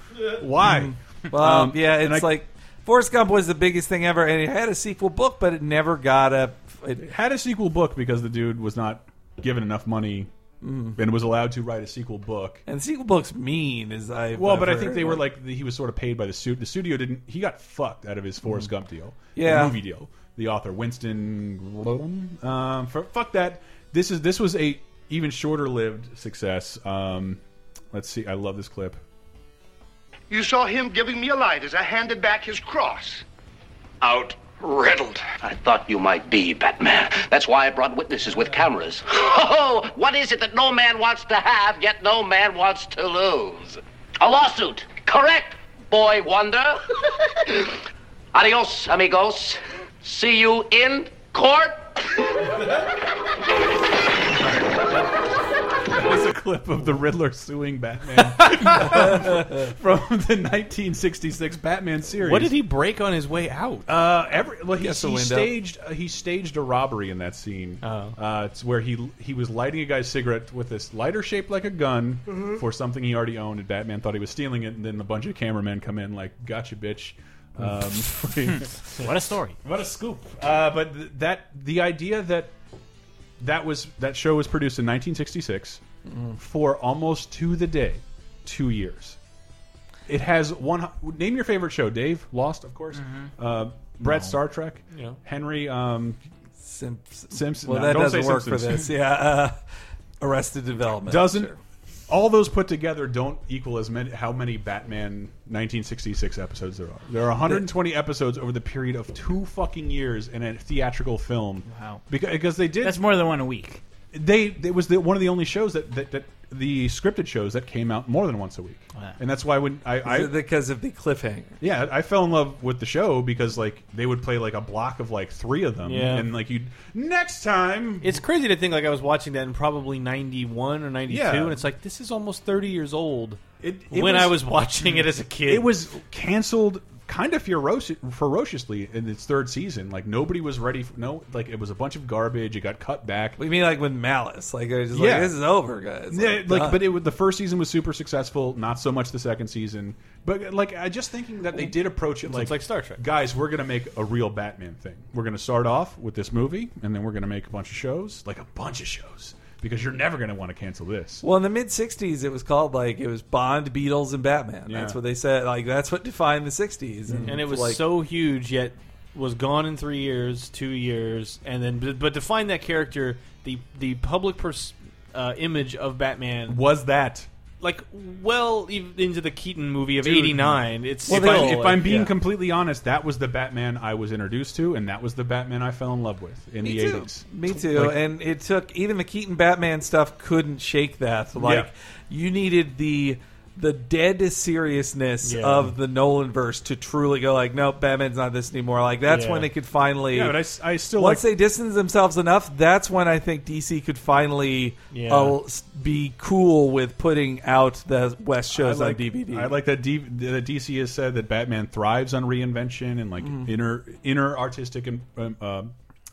A: Why?
B: Well,
A: Um,
B: yeah,
A: and
B: it's
A: I-
B: like Forrest Gump was the biggest thing ever, and it had a sequel book, but it never got a. It,
A: Had a sequel book because the dude was not given enough money
B: Mm.
A: and was allowed to write a sequel book.
B: and the sequel book's mean, as I.
A: Well, but I think they were like he was sort of paid by the suit. The studio didn't. He got fucked out of his Forrest Gump deal, the
B: Yeah.
A: movie deal. The author Winston, um, for, fuck that. This is this was a even shorter lived success. Um, let's see. I love this clip.
I: You saw him giving me a light as I handed back his cross. Out riddled.
H: I thought you might be, Batman. That's why I brought witnesses with cameras. Oh, what is it that no man wants to have, yet no man wants to lose? A lawsuit. Correct, boy wonder. Adios, amigos. See you in court.
A: was a clip of the Riddler suing Batman from the 1966 Batman series.
C: What did he break on his way out?
A: Uh, every well, he,
B: Guess the
A: he
B: window.
A: staged uh, he staged a robbery in that scene.
C: Oh.
A: Uh, it's where he he was lighting a guy's cigarette with this lighter shaped like a gun for something he already owned, and Batman thought he was stealing it, and then a bunch of cameramen come in like, "Gotcha, bitch." Um,
D: What a story.
A: what a scoop! Uh, but th that the idea that that was that show was produced in 1966 for almost to the day, two years. It has one. Name your favorite show, Dave. Lost, of course.
D: Mm-hmm.
A: Uh, Brett, Star Trek.
C: Yeah.
A: Henry um,
B: Simpson.
A: Simpson.
B: Well,
A: no,
B: that
A: don't
B: doesn't
A: say
B: work for
A: Simpsons.
B: this. Yeah. Uh, Arrested Development.
A: Doesn't all those put together don't equal as many how many Batman 1966 episodes there are? There are 120 episodes over the period of two fucking years in a theatrical film.
D: Wow.
A: Because, because they did
D: That's more than one a week.
A: they it was the, one of the only shows that, that that the scripted shows that came out more than once a week,
D: Wow.
A: and that's why when I, I
B: Is it because of the cliffhanger.
A: yeah I fell in love with the show because like they would play like a block of like three of them,
C: Yeah.
A: and like you next time
C: It's crazy to think like I was watching that in probably '91 or '92,
A: Yeah.
C: and it's like this is almost 30 years old.
A: It- it
C: when
A: was-
C: I was watching it as a kid,
A: it was canceled kind of ferocious, ferociously in its third season. Like nobody was ready. For, no, like it was a bunch of garbage. It got cut back.
B: We mean like with malice. Like they're just
A: Yeah.
B: like this is over, guys.
A: Yeah,
B: Like,
A: like
B: done.
A: but it was- the first season was super successful. Not so much the second season. But like I just thinking that they did approach it like
C: like Star Trek.
A: Guys, we're gonna make a real Batman thing. We're gonna start off with this movie, and then we're gonna make a bunch of shows, like a bunch of shows, because you're never gonna want to cancel this.
B: Well, in the mid '60s, it was called like it was Bond, Beatles, and Batman.
A: Yeah.
B: That's what they said. Like that's what defined the '60s. And,
C: and it was
B: like,
C: so huge, yet was gone in three years, two years, and then but, but to find that character, the the public pers- uh, image of Batman,
A: Was that?
C: like well even into the Keaton movie of
A: Dude.
C: '89. It's
A: If,
C: still,
A: I, if
C: like,
A: I'm being
C: yeah.
A: completely honest, that was the Batman I was introduced to, and that was the Batman I fell in love with in
B: Me
A: the
B: too.
A: 80s.
B: Me too.
A: Like-
B: and it took even the Keaton Batman stuff couldn't shake that. Like
A: Yeah.
B: you needed the the dead seriousness
C: Yeah.
B: of the Nolan verse to truly go like, nope, Batman's not this anymore. Like that's
C: Yeah.
B: when they could finally.
A: Yeah, but I s- I, still
B: once
A: like.
B: they distance themselves enough, that's when I think DC could finally
C: Yeah.
B: uh, s- be cool with putting out the West
A: I
B: shows
A: like,
B: on DVD.
A: I like that, D, that DC has said that Batman thrives on reinvention and like
B: Mm-hmm.
A: inner inner artistic and um, uh,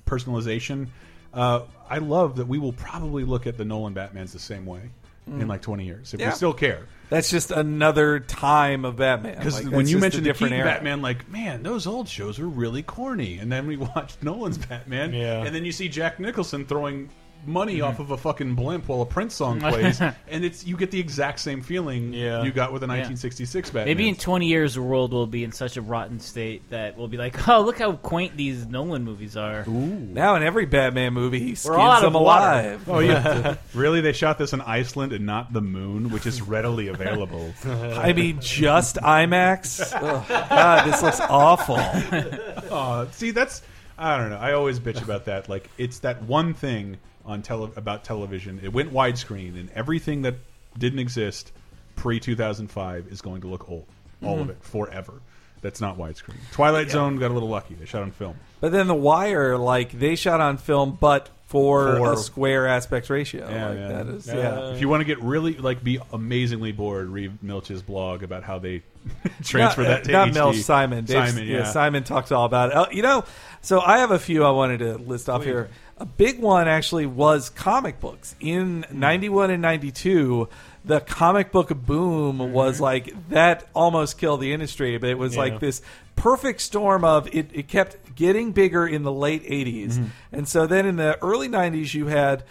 A: personalization. Uh, I love that we will probably look at the Nolan Batmans the same way in like 20 years if
B: Mm. Yeah.
A: we still care.
B: That's just another time of Batman.
A: Because
B: Like,
A: when
B: that's
A: you
B: just a
A: mentioned the
B: different
A: Keaton
B: era.
A: Batman, like man, those old shows were really corny. And then we watched Nolan's Batman,
C: Yeah.
A: and then you see Jack Nicholson throwing money
B: Mm-hmm.
A: off of a fucking blimp while a Prince song plays, and it's you get the exact same feeling
C: Yeah.
A: you got with the 1966 Batman.
D: Maybe in 20 years, the world will be in such a rotten state that we'll be like, oh, look how quaint these Nolan movies are.
B: Now in every Batman movie, he skins
D: all out
B: them
D: of water.
B: alive.
A: Oh yeah, really? They shot this in Iceland and not the moon, which is readily available.
B: I mean, just IMAX. Ugh, God, this looks awful.
A: Aw, Uh, see, that's I don't know. I always bitch about that. Like it's that one thing on tele about television. It went widescreen, and everything that didn't exist pre two thousand five is going to look old. All
B: Mm-hmm.
A: of it forever. That's not widescreen. Twilight Zone got a little lucky. They shot on film.
B: But then The Wire, like they shot on film, but for,
A: For-
B: a square aspect ratio.
A: Yeah,
B: like,
A: yeah.
B: That is, yeah.
A: uh, If you want to get really like be amazingly bored, read Milch's blog about how they transfer
B: not, uh,
A: that to
B: not
A: HD.
B: Mel Simon. Dave-
A: Simon,
B: yeah.
A: yeah.
B: Simon talks all about it. Oh, you know, so I have a few I wanted to list off here. A big one actually was comic books in
A: Hmm.
B: '91 and '92. The comic book
A: Mm-hmm.
B: boom was like that almost killed the industry, but it was like this perfect storm of it, it kept getting bigger in the late 80s.
A: Mm-hmm.
B: And so then in the early 90s, you had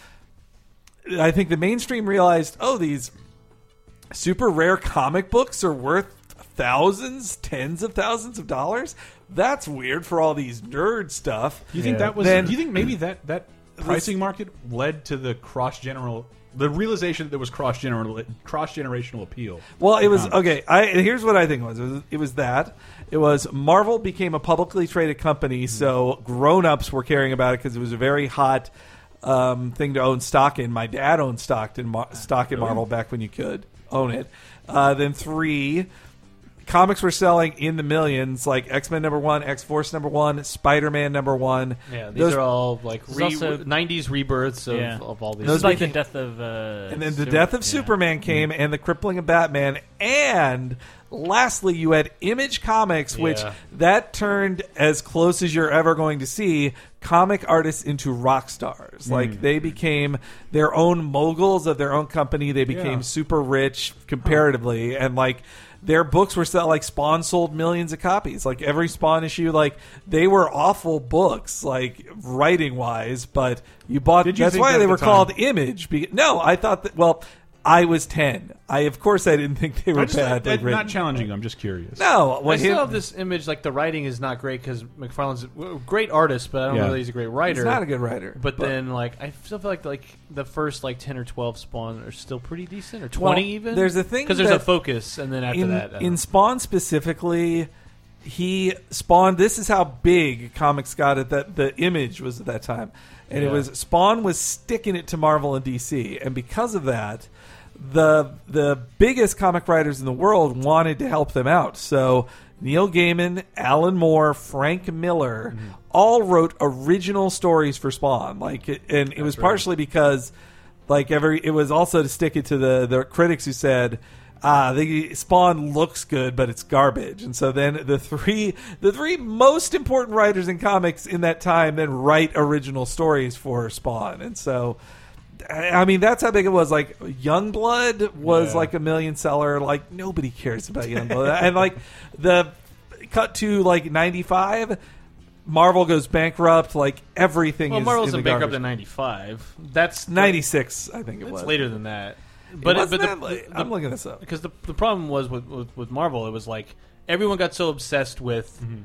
B: I think the mainstream realized, oh, these super rare comic books are worth thousands, tens of thousands of dollars. That's weird for all these nerd stuff.
A: You think that was?
B: Then-
A: do you think maybe that that pricing market led to the cross general, the realization that there was cross general cross generational appeal?
B: Well, it was
C: Uh-huh.
A: Comics.
B: okay. I here's what I think it was. It was, it was that it was Marvel became a publicly traded company,
C: Mm-hmm.
B: so grown ups were caring about it because it was a very hot um, thing to own stock in. My dad owned stock in Mar- stock in Marvel back when you could own it. Uh, then Uh, three. comics were selling in the millions, like X Men number one, X Force number one, Spider Man number one.
C: Yeah, these
B: Those-
C: are all like
D: is
C: re-
D: also-
C: 90s rebirths of,
D: Yeah.
C: of all these.
D: This is like the
B: became-
D: death of. Uh,
B: and then the
D: Super-
B: death of
D: yeah.
B: Superman came, and the crippling of Batman, and lastly, you had Image Comics, which
C: Yeah.
B: that turned as close as you're ever going to see comic artists into rock stars. Like they became their own moguls of their own company. They became
A: Yeah.
B: super rich comparatively, and like. Their books were sell like Spawn sold millions of copies. Like every Spawn issue, like they were awful books, like writing wise. But you bought.
A: Did you
B: that's
A: think
B: why
A: that at
B: they
A: the
B: were
A: time?
B: called image. Be- no, I thought that. Well, I was ten. I of course I didn't think they were
A: I just-
B: bad.
A: that-
B: written.
A: not challenging. I'm just curious.
B: no,
C: I
B: when
C: still
B: him-
C: have this image like the writing is not great because McFarlane's a great artist, but I don't
A: Yeah.
C: know that he's a great writer.
B: he's not a good writer.
C: But, then, like, I still feel like like the first like ten or twelve Spawn are still pretty decent, or twenty
B: Well,
C: even.
B: there's a thing
C: because there's a
B: that-
C: focus, and then after
B: in,
C: that, I don't
B: in
C: know.
B: Spawn specifically, he spawned. This is how big comics got at that. The image was at that time, and it
C: Yeah.
B: was Spawn was sticking it to Marvel and DC, and because of that, the the biggest comic writers in the world wanted to help them out. So Neil Gaiman, Alan Moore, Frank Miller,
C: Mm-hmm.
B: all wrote original stories for Spawn. Like, it- and it was partially because like every it was also to stick it to the the critics who said ah the spawn looks good but it's garbage and so then the three the three most important writers in comics in that time then write original stories for spawn and so I I mean that's how big it was. Like Youngblood was like a million seller. Like nobody cares about Youngblood, and like the cut to like ninety five, Marvel goes bankrupt. Like everything.
C: well,
B: is
C: Marvel's
B: in
C: in
B: the
C: bankrupt
B: garbage.
C: in '95. That's
B: ninety six. I think it
C: That's
B: was
C: later than that.
B: But,
C: But
B: it,
C: but the, the-
B: I'm looking this up.
C: because the the problem was with, with with Marvel, it was like everyone got so obsessed with
A: Mm-hmm.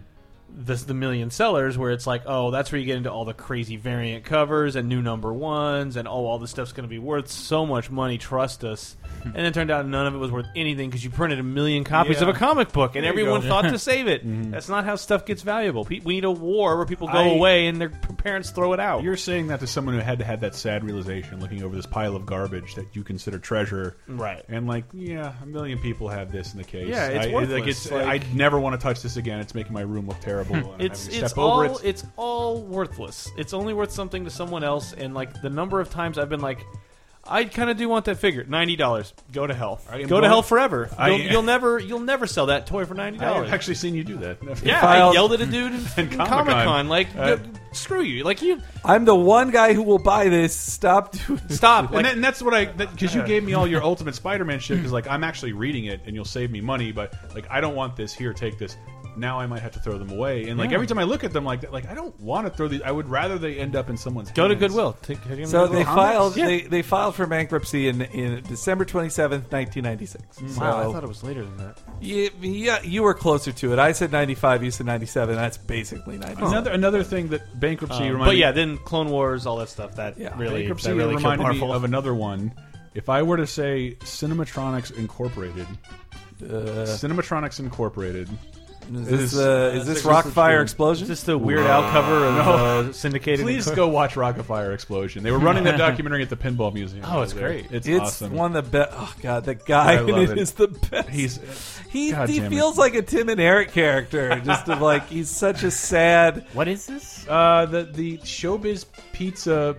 C: this the million sellers, where it's like, oh, that's where you get into all the crazy variant covers and new number ones, and oh, all this stuff's going to be worth so much money. Trust us. and then it turned out none of it was worth anything because you printed a million copies of
A: Yeah.
C: a comic book, and
A: There you
C: everyone
A: go. Mm-hmm.
C: thought to save it. That's not how stuff gets valuable. Pe- we need a war where people go
A: I-
C: away and their p- parents throw it out.
A: You're saying that to someone who had had that sad realization, looking over this pile of garbage that you consider treasure,
C: Right.
A: And like, yeah, a million people have this in the case.
C: Yeah, it's
A: I,
C: worthless,
A: Like, it's,
C: like-
A: I never want to touch this again. It's making my room look terrible. And I'm
C: it's
A: having to
C: it's
A: step over
C: all
A: it.
C: it's all worthless. It's only worth something to someone else. And like the number of times I've been like, I kind of do want that figure. Ninety dollars. Go to hell.
A: I am
C: Go to
A: going-
C: hell forever.
A: I-
C: you'll, you'll never you'll never sell that toy for ninety
A: I've
C: dollars.
A: actually seen you do that.
C: yeah,
B: filed-
C: I yelled at a dude in,
A: Comic-Con.
C: Comic Con. Like,
A: Uh,
C: "Dude, screw you. Like you
B: I'm the one guy who will buy this. Stop doing.
C: stop.
A: and,
C: Like,
A: that, and that's what I because you gave me all your Ultimate Spider-Man shit because like I'm actually reading it and you'll save me money, but like I don't want this here. Take this. Now I might have to throw them away, and like every time I look at them, like that, like I don't want to throw these. I would rather they end up in someone's.
C: go to
A: hands.
C: Goodwill. Take, take him to
B: So
C: Goodwill.
B: they
A: Comics?
B: filed.
A: Yeah.
B: They, they filed for bankruptcy in in December 27th, 1996.
C: Wow, I
B: So
C: thought it was later than that.
B: you, yeah, you were closer to it. I said 95. You said 97. That's basically 97.
A: Another another thing that bankruptcy
C: Um,
A: reminded
C: but yeah, then Clone Wars, all that stuff. That
B: Yeah.
C: really,
A: bankruptcy
C: that really killed
A: reminded me
C: Marvel.
A: of another one. If I were to say Cinematronics Incorporated,
C: Uh.
A: Cinematronics Incorporated,
B: is
A: is-
B: this, uh, is this
A: that's
B: rock
A: a-
B: fire
C: Is
B: explosion?
C: this the Weird Al cover of uh, syndicated?
A: please
C: Inco-
A: go watch Rockafire Explosion. They were running that documentary at the Pinball Museum.
C: Oh, it's
A: over there.
C: great.
A: It's,
B: it's
A: awesome.
B: one of the best. Oh god, the guy
A: I
B: in
A: love
B: it
A: it.
B: is the best.
A: He's
B: he
A: God
B: he
A: damn it.
B: feels like a Tim and Eric character. Just of like he's such a sad.
D: What is this?
A: uh, the the Showbiz Pizza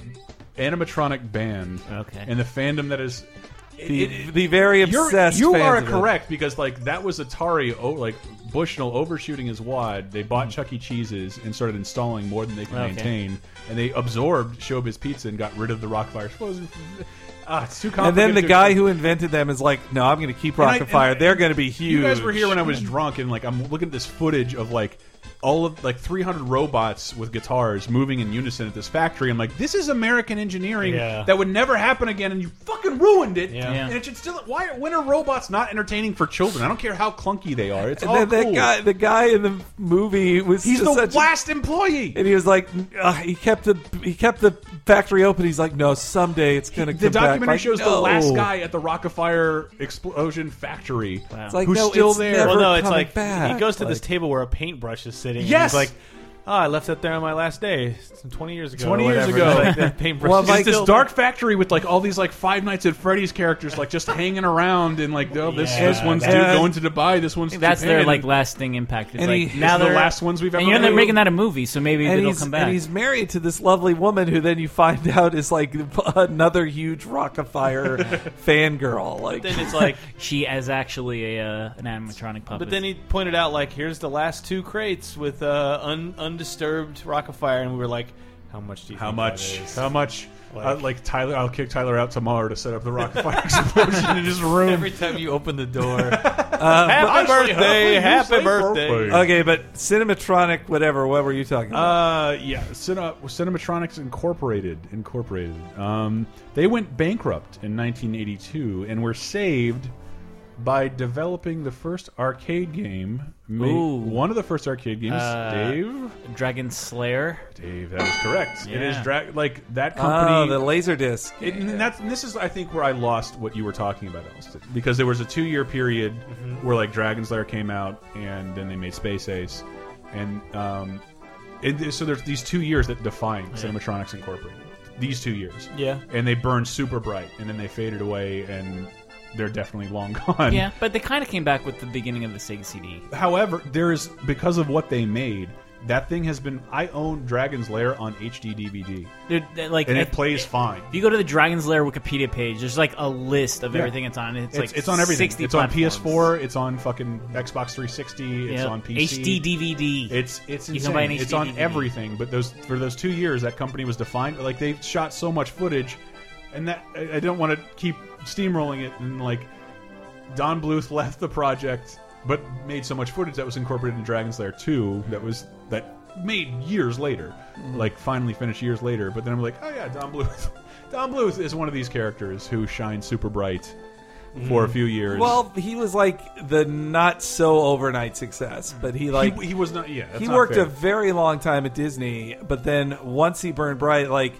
A: animatronic band.
D: Okay.
A: and the fandom that is. it-
B: The,
A: it- it-
B: the very obsessed.
A: You're, you
B: fans
A: are
B: of it.
A: correct because like that was Atari, oh, like Bushnell overshooting his wad. They bought Chuck E. Cheese's and started installing more than they could
D: Hmm. Okay.
A: maintain, and they absorbed Showbiz Pizza and got rid of the Rockfire explosion. Ah, it's too
B: And
A: complicated.
B: then the
A: to
B: guy
A: explain.
B: who invented them is like, no, I'm going to keep Rock
A: I-
B: and
A: and-
B: Fire. They're going to be huge.
A: You guys were here when I was drunk, and like I'm looking at this footage of like all of like 300 robots with guitars moving in unison at this factory. I'm like, this is American engineering
C: Yeah.
A: that would never happen again, and you fucking ruined it.
C: Yeah. Yeah.
A: And it should still. Why? When are robots not entertaining for children? I don't care how clunky they are. It's
B: And
A: all
B: then that
A: cool.
B: guy, the guy in the movie was
A: He's
B: just
A: the
B: such a-
A: last employee.
B: and he was like, uh, he kept the he kept the factory open. He's like, no, someday it's going to.
A: the documentary
B: back. Like,
A: shows the
B: no.
A: last guy at the Rockefeller explosion factory
D: Wow.
B: It's like,
A: who's
B: no,
A: still
B: it's
A: there.
B: never
C: well, no, it's
B: coming
C: like
B: back.
C: he goes to this
B: Like,
C: table where a paintbrush is sitting.
A: Yes!
C: and he's like, Oh, I left that there on my last day, some twenty years ago. or
A: 20 years
C: whatever.
A: ago.
C: Like, that paintbrush
B: Well,
C: is
A: It's
B: Mike
A: just this
B: Gilbert.
A: dark factory with like all these like Five Nights at Freddy's characters like just hanging around and like oh this
D: Yeah,
A: this one's due,
B: that's-
A: going to Dubai this one's to
D: That's
A: Japan.
D: their like lasting impact. It's
B: And
D: like
B: he-
D: now
A: the
D: they're
A: last ones we've ever
D: and you know they're
A: made.
D: making that a movie, so maybe
B: and
D: it'll
B: he's,
D: come back.
B: and he's married to this lovely woman who then you find out is like another huge Rockefeller fangirl. Like,
C: then it's like,
D: she is actually a uh, an animatronic puppet.
C: but then he pointed out like, here's the last two crates with uh, un- undisturbed Rockafire, and we were like, how much do you?
A: how
C: think
A: much
C: That is?
A: how much
C: Like-
A: Uh, like Tyler I'll kick Tyler out tomorrow to set up the rocket fire explosion in his room
C: Every time you open the
A: Uh,
C: door, happy birthday, happy birthday.
B: okay, but Cinematronic, whatever. What were you talking about?
A: Uh, yeah, Cine, Cinematronics Incorporated, Incorporated. Um, they went bankrupt in 1982 and were saved by developing the first arcade game. ma-
D: Ooh.
A: one of the first arcade games,
D: Uh,
A: Dave.
D: Dragon Slayer.
A: Dave, that is correct. It is
D: Yeah.
A: dra like that
B: oh,
A: company.
B: the Laserdisc.
A: It, and that's and this is I think where I lost what you were talking about, Elston, because there was a two year period where like Dragon's Lair came out, and then they made Space Ace, and um, it, so there's these two years that define Cinematronics Incorporated. These two years,
C: Yeah.
A: and they burned super bright, and then they faded away, and they're definitely long gone.
D: Yeah, but they kind of came back with the beginning of the Sega CD.
A: However, there is because of what they made. That thing has been. I own Dragon's Lair on HD DVD,
D: They're, they're, like,
A: and
D: I-
A: it plays fine.
D: If you go to the Dragon's Lair Wikipedia page, there's like a list of
A: Yeah.
D: everything it's on. It's,
A: It's,
D: like
A: it's on everything.
D: 60
A: It's
D: platforms.
A: on PS4. It's on fucking Xbox 360. It's
D: Yep.
A: on PC.
D: HD DVD.
A: It's it's
D: You can buy
A: insane.
D: an
A: It's
D: HD
A: on
D: DVD.
A: everything. But those for those two years, that company was defined. Like they shot so much footage, and that I, I don't want to keep steamrolling it. And like Don Bluth left the project, but made so much footage that was incorporated in Dragon's Lair 2. That was that made years later,
B: Mm-hmm.
A: like finally finished years later. But then I'm like, oh yeah, Don Bluth. Don Bluth is one of these characters who shines super bright for a few years.
B: Mm-hmm. Well, he was like the not so overnight success, but he like
A: he, he was not. Yeah, that's
B: he
A: not
B: worked
A: fair.
B: a very long time at Disney, but then once he burned bright, like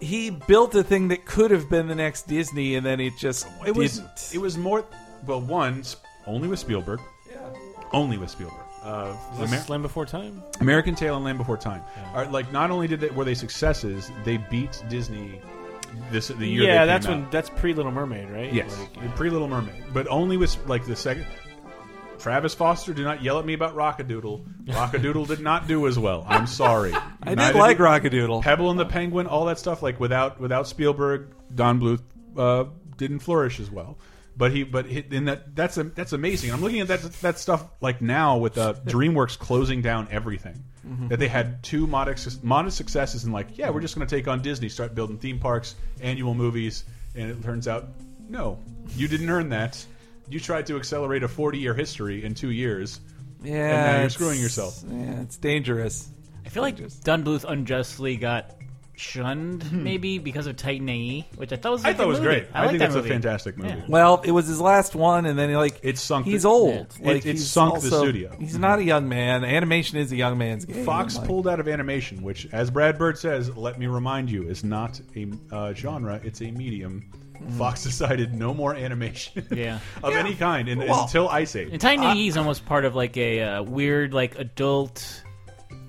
B: he built a thing that could have been the next Disney, and then it just
A: It was.
B: didn't.
A: It was more. Well, one s- only with Spielberg. Yeah. Only with Spielberg. Uh,
C: Is
A: Amer-
C: this Slam Before Time?
A: American Tail and Land Before Time. Are, like, not only did they, were they successes, they beat Disney. This the year. they
C: yeah,
A: came
C: that's
A: out.
C: when that's pre Little Mermaid, right?
A: Yes,
C: Like,
A: pre Little Mermaid, but only with like the second. Travis Foster, do not yell at me about Rockadoodle. Rockadoodle did not do as well. I'm sorry.
B: I did like Rockadoodle.
A: Pebble and the Penguin, all that stuff. Like without without Spielberg, Don Bluth uh, didn't flourish as well. But he, but he, in that that's a, that's amazing. I'm looking at that that stuff like now with uh, DreamWorks closing down everything.
D: Mm-hmm.
A: That they had two modest modest successes and like yeah, we're just going to take on Disney, start building theme parks, annual movies, and it turns out no, you didn't earn that. You tried to accelerate a 40 year history in two years.
B: Yeah,
A: now you're
B: it's-
A: screwing yourself.
B: Yeah, it's dangerous.
D: I feel like Don Bluth unjustly got shunned, maybe because of Titan AE, which I thought was. a
A: Hmm. I thought
D: good
A: it was
D: movie.
A: great. I,
D: like
A: think
D: that
A: that's
D: movie.
A: a fantastic movie.
D: Yeah.
B: Well, it was his last one, and then he, like
A: It sunk
B: He's
A: the-
B: old.
A: Yeah.
B: Like
A: It- it
B: he's
A: sunk the
B: also-
A: studio.
B: He's not a young man. Animation is a young man's game.
A: Fox
B: Like,
A: pulled out of animation, which, as Brad Bird says, let me remind you, is not a uh, genre; it's a medium. Fox decided no more animation,
D: Yeah.
A: of any kind, and,
B: Well-
A: until Ice Age.
D: And Titan AE is almost part of like a uh, weird like adult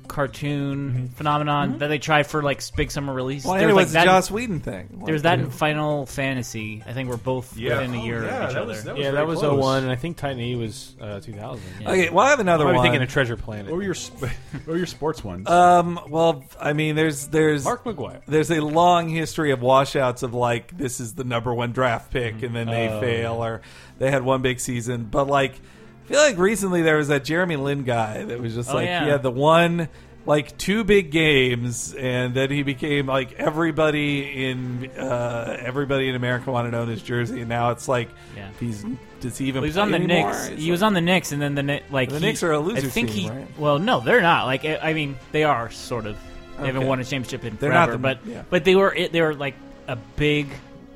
D: cartoon
A: Mm-hmm.
D: phenomenon that they tried for like big summer release.
B: Well,
D: There was,
B: anyway,
D: like,
B: it's
D: that-
B: the Joss Whedon thing. Like,
D: There's that
B: yeah.
D: in Final Fantasy. I think we're both within a year
A: Oh,
D: of each
A: that
D: other.
A: Was, that was
C: yeah, that
A: very
C: was
A: close.
C: 01, and I think Titan E was uh, 2000.
B: Okay, well, I have another
C: I'm
B: one.
C: thinking of Treasure Planet.
A: What were your sp- what were your sports ones?
B: Um, well, I mean, there's there's
C: Mark McGuire.
B: there's a long history of washouts of like this is the number one draft pick and then
D: Mm-hmm.
B: they
D: Oh,
B: fail or they had one big season, but like I feel like recently there was that Jeremy Lin guy that was just
D: Oh,
B: like
D: yeah.
B: he had the one like two big games and then he became like everybody in uh, everybody in America wanted to own his jersey and now it's like
D: Yeah.
B: if he's does he even
D: Well, he was
B: play
D: on the
B: anymore?
D: Knicks.
B: It's
D: He was
B: like-
D: on the Knicks, and then the Kni- like
B: The
D: he-
B: Knicks are a loser
D: I think
B: team,
D: he.
B: right?
D: Well, no, they're not. Like I I mean, they are sort of. They haven't
B: Okay.
D: won a championship in
B: They're not
D: forever,
B: the-
D: but
B: yeah.
D: but they were it. They were like a big,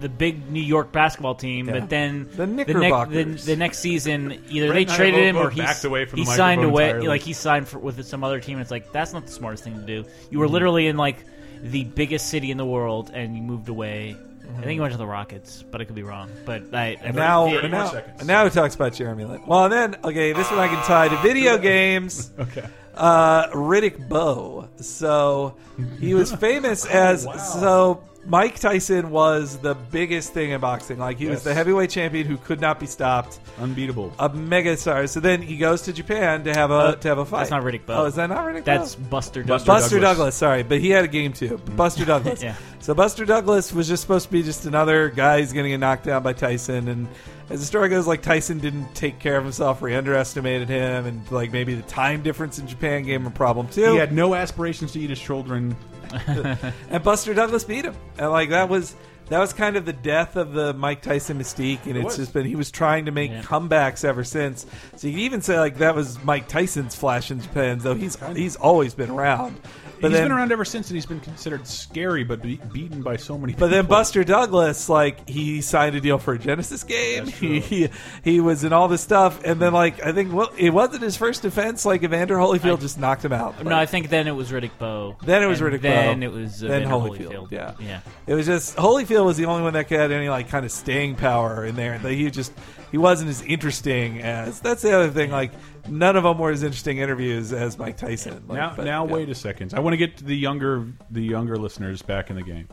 D: the big New York basketball team.
B: Yeah.
D: But then
B: The
D: nec-
B: Knickerbockers.
D: the, the next season, either
A: Brett
D: they
A: and I
D: traded him
A: both
D: or he
A: backed away from
D: he
A: the
D: signed
A: microphone
D: away.
A: entirely.
D: Like he signed for, with some other team. And it's like that's not the
B: Mm-hmm.
D: smartest thing to do. You were literally in like the biggest city in the world, and you moved away. I think he went to the Rockets, but I could be wrong. But I, I
B: Mm-hmm. Now,
A: Thirty more
B: now,
A: seconds.
B: now it talks about Jeremy Lin. Well, then, okay, this one I can tie to video games.
A: Okay.
B: uh, Riddick Bowe. So he was famous as so. Mike Tyson was the biggest thing in boxing. Like he
A: Yes.
B: was the heavyweight champion who could not be stopped,
A: Unbeatable.
B: a megastar. So then he goes to Japan to have a to have a fight.
D: that's not Riddick Bowe.
B: Oh, is that not Riddick
D: that's
B: Bowe?
A: Buster
D: Buster Douglas.
B: Buster
A: Douglas. Mm-hmm.
B: Douglas. Sorry, but he had a game too. Buster Douglas.
D: Yeah.
B: So Buster Douglas was just supposed to be just another guy who's going to get knocked down by Tyson, and as the story goes, like Tyson didn't take care of himself, or he underestimated him, and like maybe the time difference in Japan gave him a problem too.
A: He had no aspirations to eat his children.
B: and Buster Douglas beat him, and like that was that was kind of the death of the Mike Tyson mystique, and it's
A: was.
B: just been he was trying to make comebacks ever since. So you can even say like that was Mike Tyson's flash in Japan, though he's he's always been around.
A: He's
B: But then,
A: been around ever since, and he's been considered scary, but be beaten by so many.
B: But then
A: people.
B: Buster Douglas, like he signed a deal for a Genesis game.
A: That's true.
B: He, he he was in all this stuff, and then like I think well, it wasn't his first defense. Like Evander Holyfield just knocked him out.
D: No, I think then it was Riddick Bowe.
B: Then it was
D: and
B: Riddick
D: Then
B: Bowe.
D: it was uh,
B: Then
D: Vander
B: Holyfield,
D: Holyfield.
B: yeah.
D: yeah.
B: It was just Holyfield was the only one that could had any like kind of staying power in there. Like, he just he wasn't as interesting as that's the other thing. Like none of them were as interesting interviews as Mike Tyson. Like,
A: now,
B: but,
A: now
B: yeah.
A: wait a second. I want to get the younger the younger listeners back in the game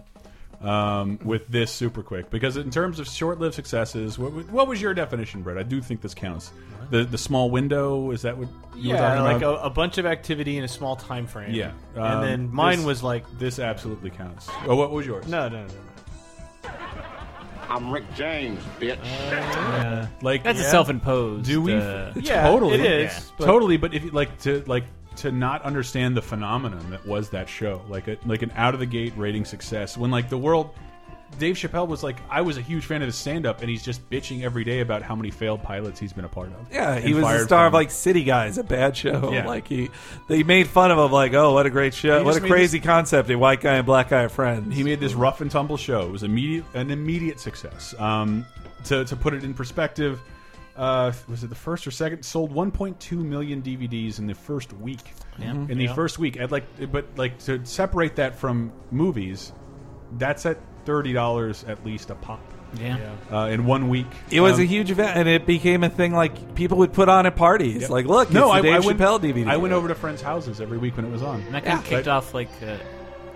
A: um, with this super quick because in terms of short lived successes, what, would- what was your definition, Brett? I do think this counts. The the small window is that what you were
C: Yeah,
A: talking
C: like a,
A: about?
C: a bunch of activity in a small time frame.
A: yeah, Um,
C: and then mine
A: this-
C: was like
A: this absolutely counts. Oh, what was yours?
C: no, no, no, no.
I: I'm Rick James, bitch.
A: like
D: That's
A: yeah.
D: a self-imposed.
A: Do we?
D: uh,
C: Yeah,
A: totally.
C: it is,
A: Yeah.
C: but-
A: totally. But if you like to like to not understand the phenomenon that was that show, like a, like an out of the gate rating success, when like the world, Dave Chappelle was like, I was a huge fan of his stand up, and he's just bitching every day about how many failed pilots he's been a part of.
B: Yeah, he
A: And
B: was the
A: fired
B: star of
A: from.
B: like City Guys, a bad show.
A: Yeah.
B: Like he, they made fun of him. Like, oh, what a great show!
A: He
B: What
A: just
B: a
A: made
B: crazy concept! A white guy and black guy are friends.
A: He made this rough and tumble show. It was immediate, an immediate success. Um, to, to put it in perspective, uh, was it the first or second? Sold 1.2 million DVDs in the first week.
B: Mm-hmm.
A: In the first week, I'd like, but like to separate that from movies, that's at thirty dollars at least a pop
D: yeah.
A: uh, in one week.
B: It was
A: Um,
B: a huge event, and it became a thing. Like people would put on at parties.
A: yep.
B: Like, look,
A: no,
B: it's
A: I,
B: the Dave
A: I went,
B: Chappelle DVD.
A: I went over to friends' houses every week when it was on.
D: And that kind of
A: Yeah.
D: kicked
A: But-
D: off like uh,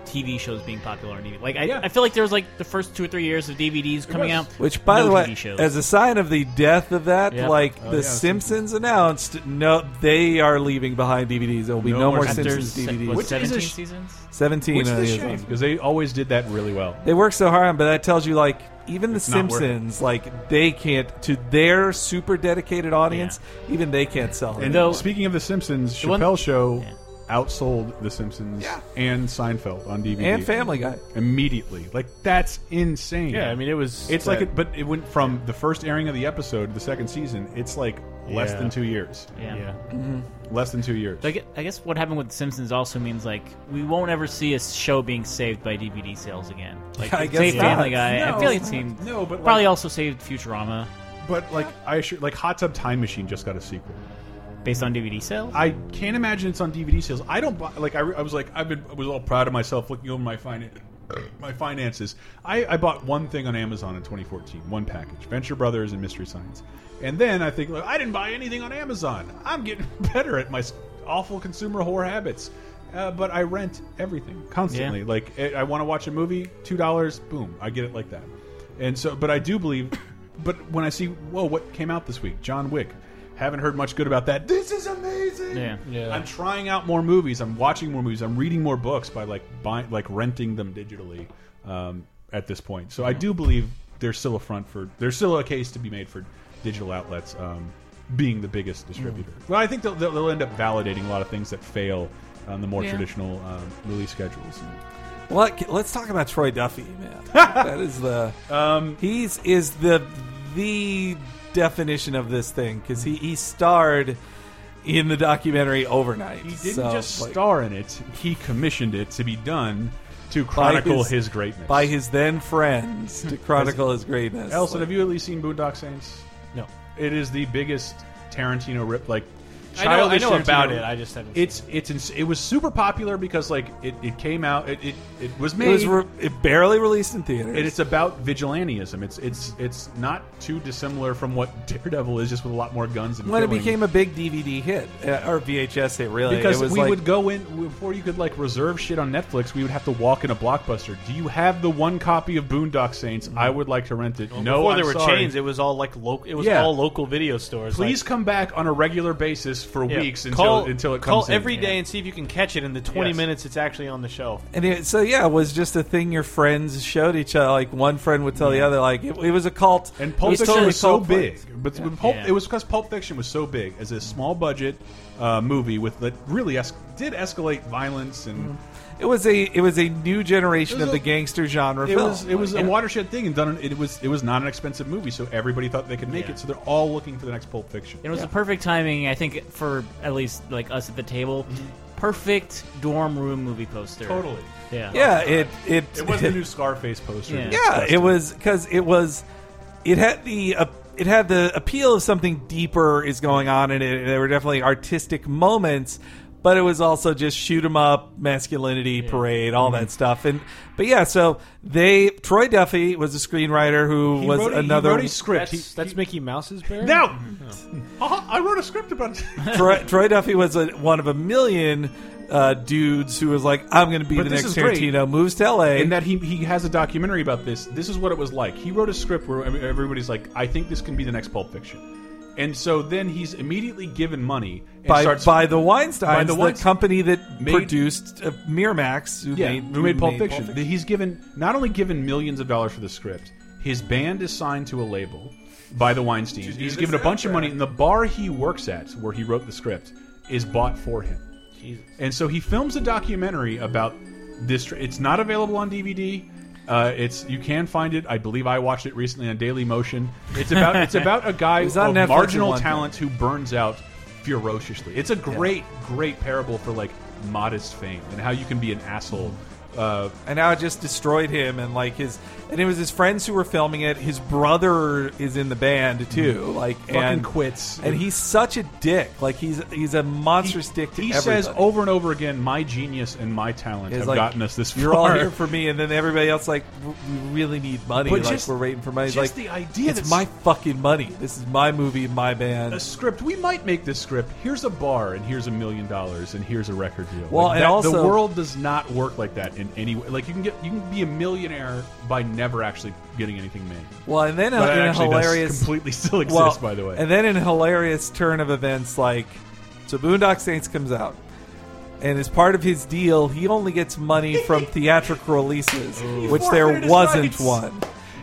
D: TV shows being popular on DVD. Like I,
A: Yeah.
D: I feel like there was like the first two or three years of DVDs coming
A: was.
D: out.
B: Which, by
D: no
B: the
D: TV
B: way,
D: shows.
B: as a sign of the death of that,
D: Yeah.
B: like
A: Oh,
B: The
A: yeah,
B: Simpsons announced, no, they are leaving behind DVDs. There will be
A: No
B: no,
A: more
B: more
D: after
B: Simpsons
D: se-
B: DVDs.
D: what,
A: is a
D: seventeen
A: sh-
D: seasons.
B: Seventeen.
A: Which
B: of
A: is
B: these
A: a shame
B: ones.
A: because they always did that really well.
B: They work so hard on, but that tells you like even the
A: not worth it.
B: Simpsons, like they can't to their super dedicated audience, even they can't sell it.
A: And
D: Though-
A: speaking of The Simpsons,
D: The one-
A: Chappelle Show
D: Yeah.
A: outsold The Simpsons and Seinfeld on DVD
B: and Family Guy.
A: immediately. Like that's insane.
C: Yeah, I mean it was.
A: it's like,
C: that-
A: it, but it went from the first airing of the episode, the second season. It's like less
C: Yeah.
A: than two years.
D: Yeah.
C: yeah.
A: Less than two years.
D: So I, gue- I guess what happened with The Simpsons also means like we won't ever see a show being saved by DVD sales again. Like
B: I
D: it
B: guess
D: saved
B: not.
D: Family Guy.
A: No,
D: I feel like
A: it's
D: it
A: not.
D: seemed
A: No, but,
D: probably
A: like-
D: also saved Futurama
A: but like, I assure, like Hot Tub Time Machine just got a sequel.
D: based on DVD sales.
A: I can't imagine it's on DVD sales. I don't buy. Like I, re- I was like I've been I was all proud of myself looking over my finan my finances. I, I bought one thing on Amazon in 2014, one package, Venture Brothers and Mystery Science, and then I think like, I didn't buy anything on Amazon. I'm getting better at my s- awful consumer whore habits. Uh, but I rent everything constantly.
D: Yeah.
A: Like eh, I- I want to watch a movie, two dollars, boom, I get it like that. And so, but I do believe. But when I see, whoa, what came out this week? John Wick. Haven't heard much good about that. This is amazing.
D: Yeah.
C: Yeah.
A: I'm trying out more movies. I'm watching more movies. I'm reading more books by like buying, like renting them digitally um, at this point. So I do believe there's still a front for there's still a case to be made for digital outlets um, being the biggest distributor. Well, I think they'll, they'll, they'll end up validating a lot of things that fail on the more traditional um, release schedules.
B: Look, let's talk about Troy Duffy, man. that is the
A: Um,
B: he's is the the definition of this thing because he he starred in the documentary Overnight.
A: He didn't
B: So,
A: just
B: like,
A: star in it; he commissioned it to be done to
B: by
A: chronicle his, greatness.
B: by his then friends to chronicle his greatness.
A: Elson,
B: Like,
A: have you at least seen Boondock Saints?
C: No.
A: It is the biggest Tarantino rip. Like
C: I
A: childish
C: know, I know
A: Tarantino-
C: about it. I just haven't. seen
A: It's it's ins it was super popular because like it, it came out it it, it was made
B: It was re- it barely released in theaters.
A: and it's about vigilantism. It's it's it's not too dissimilar from what Daredevil is, just with a lot more guns and
B: when it
A: killing.
B: became a big DVD hit uh, or VHS hit, really,
A: because
B: it was
A: we
B: like,
A: would go in before you could like reserve shit on Netflix. We would have to walk in a blockbuster. Do you have the one copy of Boondock Saints? I would like to rent it.
C: it.
A: no,
C: before
A: Oh, I'm
C: there were
A: sorry.
C: chains, it was all like local. It was
A: Yeah.
C: all local video stores.
A: Please come back on a regular basis for
C: like, yeah,
A: weeks until
C: call,
A: until it
C: call
A: comes
C: every
A: in.
C: day and see if you can catch it in the twenty
A: Yes.
C: minutes it's actually on the shelf.
B: and it, so yeah, it was just a thing your friends showed each other. Like one friend would tell the other, like it, it was a cult.
A: And
B: it
A: Pulp
B: was
A: Fiction
B: totally
A: was so
B: cult
A: big,
B: place.
A: but when Pulp,
C: Yeah.
A: it was because Pulp Fiction was so big as a small budget uh, movie with that really es did escalate violence and
C: Mm-hmm.
B: It was a it was a new
A: It
B: generation
A: was
B: of
A: a-
B: the gangster genre.
A: it
B: film.
A: was it was
B: Like,
A: a
B: yeah.
A: watershed thing and done. It was it was not an expensive movie, so everybody thought they could make
C: Yeah.
A: it. So they're all looking for the next Pulp Fiction.
D: It was the perfect timing, I think, for at least like us at the table.
C: Mm-hmm.
D: Perfect dorm room movie poster.
A: Totally.
D: Yeah.
B: yeah. It it
A: It was the new Scarface poster.
D: Yeah.
B: Yeah, it was because it was it had the uh, it had the appeal of something deeper is going on in it. There were definitely artistic moments, but it was also just shoot 'em up, masculinity parade, all
A: Mm-hmm.
B: that stuff. And but yeah, so they Troy Duffy was a screenwriter who
A: He
B: was
A: wrote, a- he
B: another
A: wrote a script.
C: That's, that's Mickey Mouse's bear.
A: he, no, Uh-huh, I wrote a script about. it.
B: Troy, Troy Duffy was a, one of a million. Uh, dudes who was like, I'm going to be
A: But
B: the
A: this
B: next
A: is great.
B: Tarantino. Moves to LA.
A: and that he he has a documentary about this. This is what it was like. He wrote a script where every- everybody's like, "I think this can be the next Pulp Fiction," and so then he's immediately given money and
B: by,
A: starts
B: by the Weinsteins,
A: by the
B: the,
A: Weinstein-
B: company that
A: Made-
B: produced uh, Miramax, who
A: yeah,
B: made,
A: who made Pulp Fiction. He's given not only given millions of dollars for the script, his band is signed to a label by the Weinsteins. He's given a bunch of money, and the bar he works at, where he wrote the script, is bought for him.
C: Jesus.
A: And so he films a documentary about this. tr- It's not available on DVD. Uh, it's you can find it. I believe I watched it recently on Daily Motion. It's about it's about a guy
B: was on
A: of
B: Netflix at
A: marginal
B: one time.
A: talent who burns out ferociously. It's a great great parable for like modest fame and how you can be an asshole. Uh,
B: And now it just destroyed him, and like his, and it was his friends who were filming it. His brother is in the band too, like
A: Mm-hmm. Fucking
B: and
A: quits.
B: And he's such a dick. Like he's he's a monstrous dick to
A: he
B: everybody.
A: says over and over again, "My genius and my talent
B: He's
A: have
B: like,
A: gotten us this far."
B: You're all here for me, and then everybody else like "W- we really need money.
A: But
B: like
A: just-
B: we're waiting for money. He's
A: just
B: like
A: the idea
B: it's
A: that's-
B: my fucking money. This is my movie, my band.
A: a script. We might make this script. Here's a bar, and here's a million dollars, and here's a record deal.
B: Well,
A: Like,
B: and
A: that- the
B: also-
A: world does not work like that in any way. Like you can get, you can be a millionaire by never actually getting anything made.
B: Well, and then uh,
A: But
B: in
A: that
B: a
A: actually
B: hilarious,
A: does completely still exists,
B: well,
A: by the way.
B: And then in a hilarious turn of events, like so, Boondock Saints comes out, and as part of his deal, he only gets money from theatrical releases, which there
A: forfeited his
B: wasn't
A: rights.
B: one.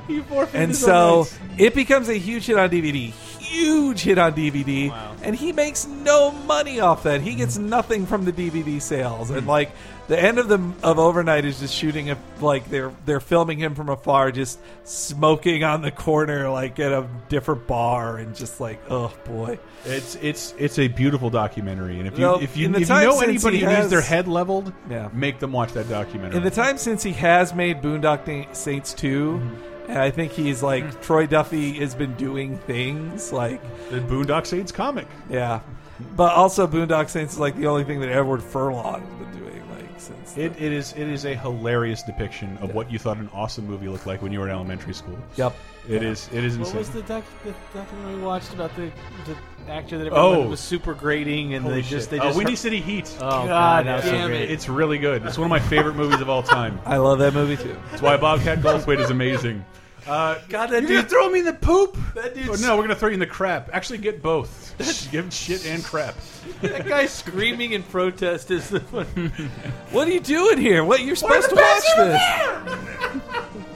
A: You forfeited
B: And
A: his
B: so
A: rights.
B: it becomes a huge hit on DVD, huge hit on DVD, and he makes no money off that. He gets nothing from the DVD sales, and like the end of the of overnight is just shooting a like they're they're filming him from afar, just smoking on the corner like at a different bar, and just like oh boy,
A: it's it's it's a beautiful documentary, and if you
B: Well,
A: if you,
B: in the
A: if you
B: time
A: know
B: since
A: anybody
B: he
A: who needs
B: has-
A: their head leveled,
B: Yeah.
A: make them watch that documentary.
B: In the time since he has made Boondock Na- Saints 2, and I think he's like Troy Duffy has been doing things like
A: the Boondock Saints comic.
B: yeah, but also Boondock Saints is like the only thing that Edward Furlong has been doing like since.
A: It, it is it is a hilarious depiction of what you thought an awesome movie looked like when you were in elementary school.
B: Yep.
A: It is it is
C: What
A: insane.
C: was the, doc, the documentary we watched about the, the actor that
A: Oh.
C: everyone was super grating and
A: Holy
C: they just
A: shit.
C: they
A: Uh,
C: just
A: Windy City Heat.
C: Oh, God,
D: God,
C: that was so
D: damn
C: great.
D: it.
A: It's really good. It's one of my favorite movies of all time.
B: I love that movie too.
A: That's why Bobcat Goldthwait is amazing. Uh, God,
B: that
A: you're
B: dude-
A: gonna throw me in the poop.
C: That dude's-
A: Oh, no, we're gonna throw you in the crap. Actually, get both. Give shit and crap.
C: That guy screaming in protest is the one.
B: What are you doing here? What you're supposed to
A: the best
B: watch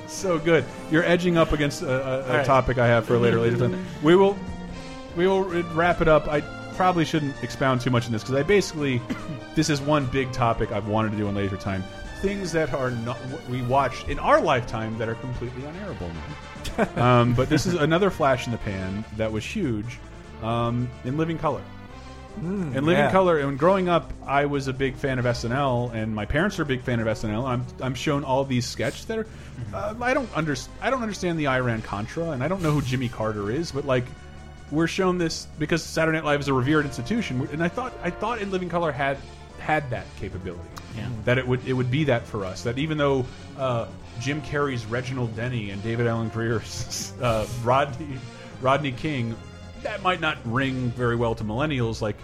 B: this?
A: So good. You're edging up against a, a, a
C: right.
A: topic I have for later. Later time. We will we will wrap it up. I probably shouldn't expound too much on this because I basically this is one big topic I've wanted to do in later time. Things that are not what we watched in our lifetime that are completely unairable now. um, but this is another flash in the pan that was huge um, in Living Color. And Living
B: yeah.
A: Color, and growing up, I was a big fan of SNL, and my parents are a big fan of SNL. I'm I'm shown all these sketches that are, uh, I don't under I don't understand the Iran Contra, and I don't know who Jimmy Carter is, but like we're shown this because Saturday Night Live is a revered institution, and I thought I thought in Living Color had had that capability.
D: Yeah.
A: That it would it would be that for us. That even though uh, Jim Carrey's Reginald Denny and David Allen Greer's uh, Rodney Rodney King. That might not ring very well to millennials. Like,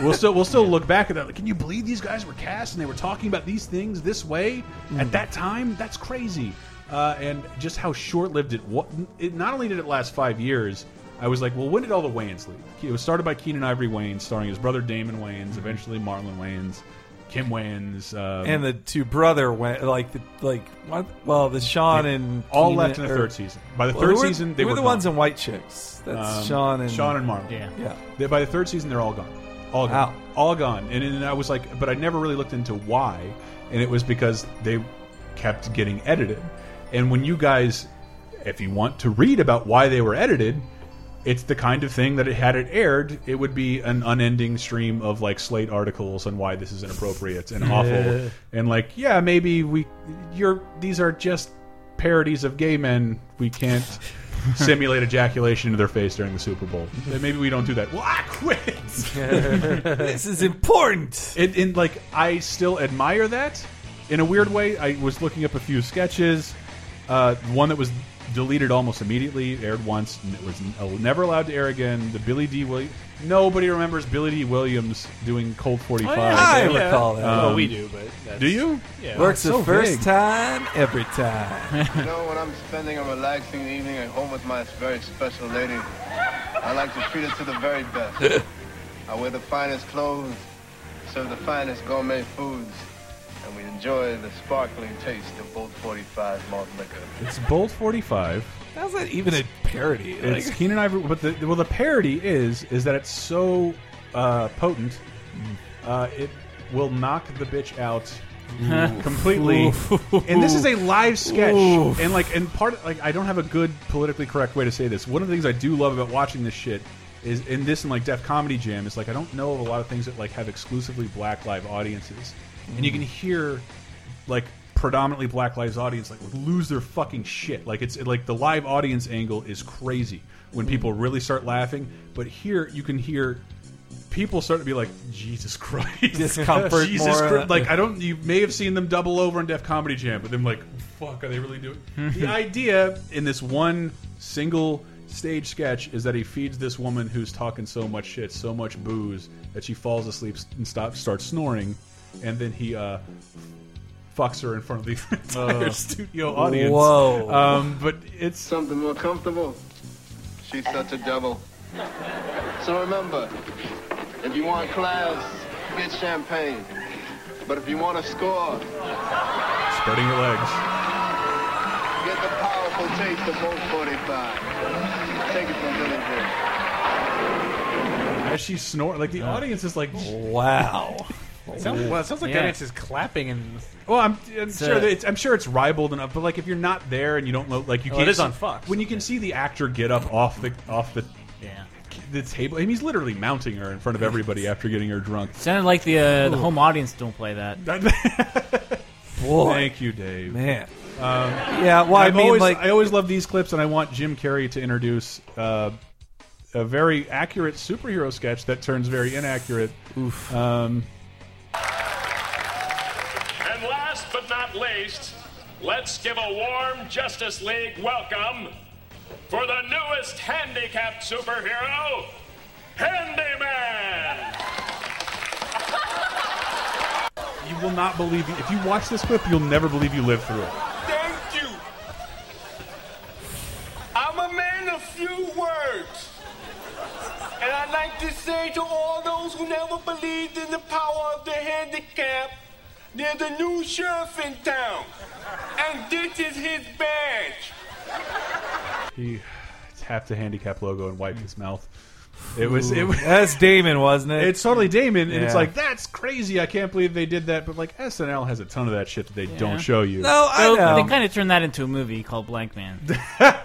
A: we'll still we'll still look back at that. Like, can you believe these guys were cast and they were talking about these things this way
B: Mm.
A: at that time? That's crazy. Uh, and just how short-lived it was. It, not only did it last five years, I was like, well, when did all the Wayans leave? It was started by Keenan Ivory Wayans, starring his brother Damon Wayans, eventually Marlon Wayans, Kim Wayans, um,
B: Mm-hmm. and the two brother went like the, like what? Well, the Sean and
A: all
B: Keenan-
A: left in the
B: or-
A: third season. By the
B: Well,
A: third
B: who were-
A: season, they
B: who
A: were
B: were the
A: gone.
B: ones in White Chicks. That's
A: Um,
B: Sean and
A: Sean and Marlon.
D: Yeah.
B: yeah.
A: They, by the third season, they're all gone. All gone.
B: Wow.
A: All gone. And, and I was like, but I never really looked into why. And it was because they kept getting edited. And when you guys, if you want to read about why they were edited, it's the kind of thing that it had it aired, it would be an unending stream of like slate articles on why this is inappropriate and awful. And like, yeah, maybe we, you're, these are just parodies of gay men. We can't simulate ejaculation into their face during the Super Bowl. And Maybe we don't do that. Well, I quit.
B: this is important.
A: And, and like, I still admire that in a weird way. I was looking up a few sketches. Uh, one that was deleted almost immediately, aired once, and it was n- oh, never allowed to air again. The Billy D. Williams. Nobody remembers Billy D. Williams doing Cold 45.
D: Oh,
B: I recall
D: Um,
B: that.
C: well, we do, but that's,
A: Do you?
C: Yeah.
B: Works
A: so
B: the first
A: big.
B: time, every time.
G: You know, when I'm spending a relaxing evening at home with my very special lady, I like to treat her to the very best. I wear the finest clothes, serve the finest gourmet foods, and we enjoy the sparkling taste of Bolt 45 malt liquor.
A: It's Bold 45.
B: How's that even a parody? Like,
A: It's Keenan Ivory, but the well, the parody is is that it's so uh, potent, uh, it will knock the bitch out completely. and this is a live sketch, and like, and part of, like I don't have a good politically correct way to say this. One of the things I do love about watching this shit is in this and like Def Comedy Jam is like I don't know of a lot of things that like have exclusively black live audiences, and you can hear like predominantly black lives audience like lose their fucking shit like it's like the live audience angle is crazy when people really start laughing but here you can hear people start to be like jesus christ
B: Discomfort
A: jesus
B: more. uh,
A: christ like i don't you may have seen them double over on def comedy jam but then like fuck are they really doing the idea in this one single stage sketch is that he feeds this woman who's talking so much shit so much booze that she falls asleep and stops starts snoring and then he uh fucks her in front of the entire studio audience.
B: Uh, Whoa.
A: Um, but it's
G: Something more comfortable. She's such a devil. So remember, if you want class, get champagne. But if you want to score,
A: spreading your legs.
G: Get the powerful taste of Bolt 45. Take it from Billy Bill.
A: As she snores, like the audience is like,
B: wow.
C: Sounds, well, it sounds like
D: Yeah.
C: that it's just clapping and
A: well, Oh, I'm, I'm sure
D: a-
A: that it's, I'm sure it's ribald enough, but like if you're not there and you don't know, like you
C: Well,
A: can't.
C: it is
A: see-
C: on Fox.
A: When you can see the actor get up off the off the
D: Yeah.
A: the table, I mean, he's literally mounting her in front of everybody after getting her drunk.
D: Sounded like the uh, the home audience don't play that.
B: Boy.
A: Thank you, Dave.
B: Man. yeah, well, I
A: Um, I've
B: mean,
A: always,
B: like,
A: I always love these clips, and I want Jim Carrey to introduce uh, a very accurate superhero sketch that turns very inaccurate. Oof. Um,
J: And last but not least, let's give a warm Justice League welcome for the newest handicapped superhero, Handyman!
A: you will not believe if you watch this clip, you'll never believe you lived through it.
J: Thank you. I'm a man of few words. And I'd like to say to all those who never believed in the power of the handicap, there's a new sheriff in town. And this is his badge.
A: He tapped the handicap logo and wiped his mouth. It was it was.
B: that's Damon, wasn't it?
A: It's totally Damon, and it's
B: Yeah.
A: like that's crazy. I can't believe they did that. But like SNL has a ton of that shit that they don't show you.
B: no,
D: So
B: I
D: they
B: know.
D: kind of turned that into a movie called Blank Man.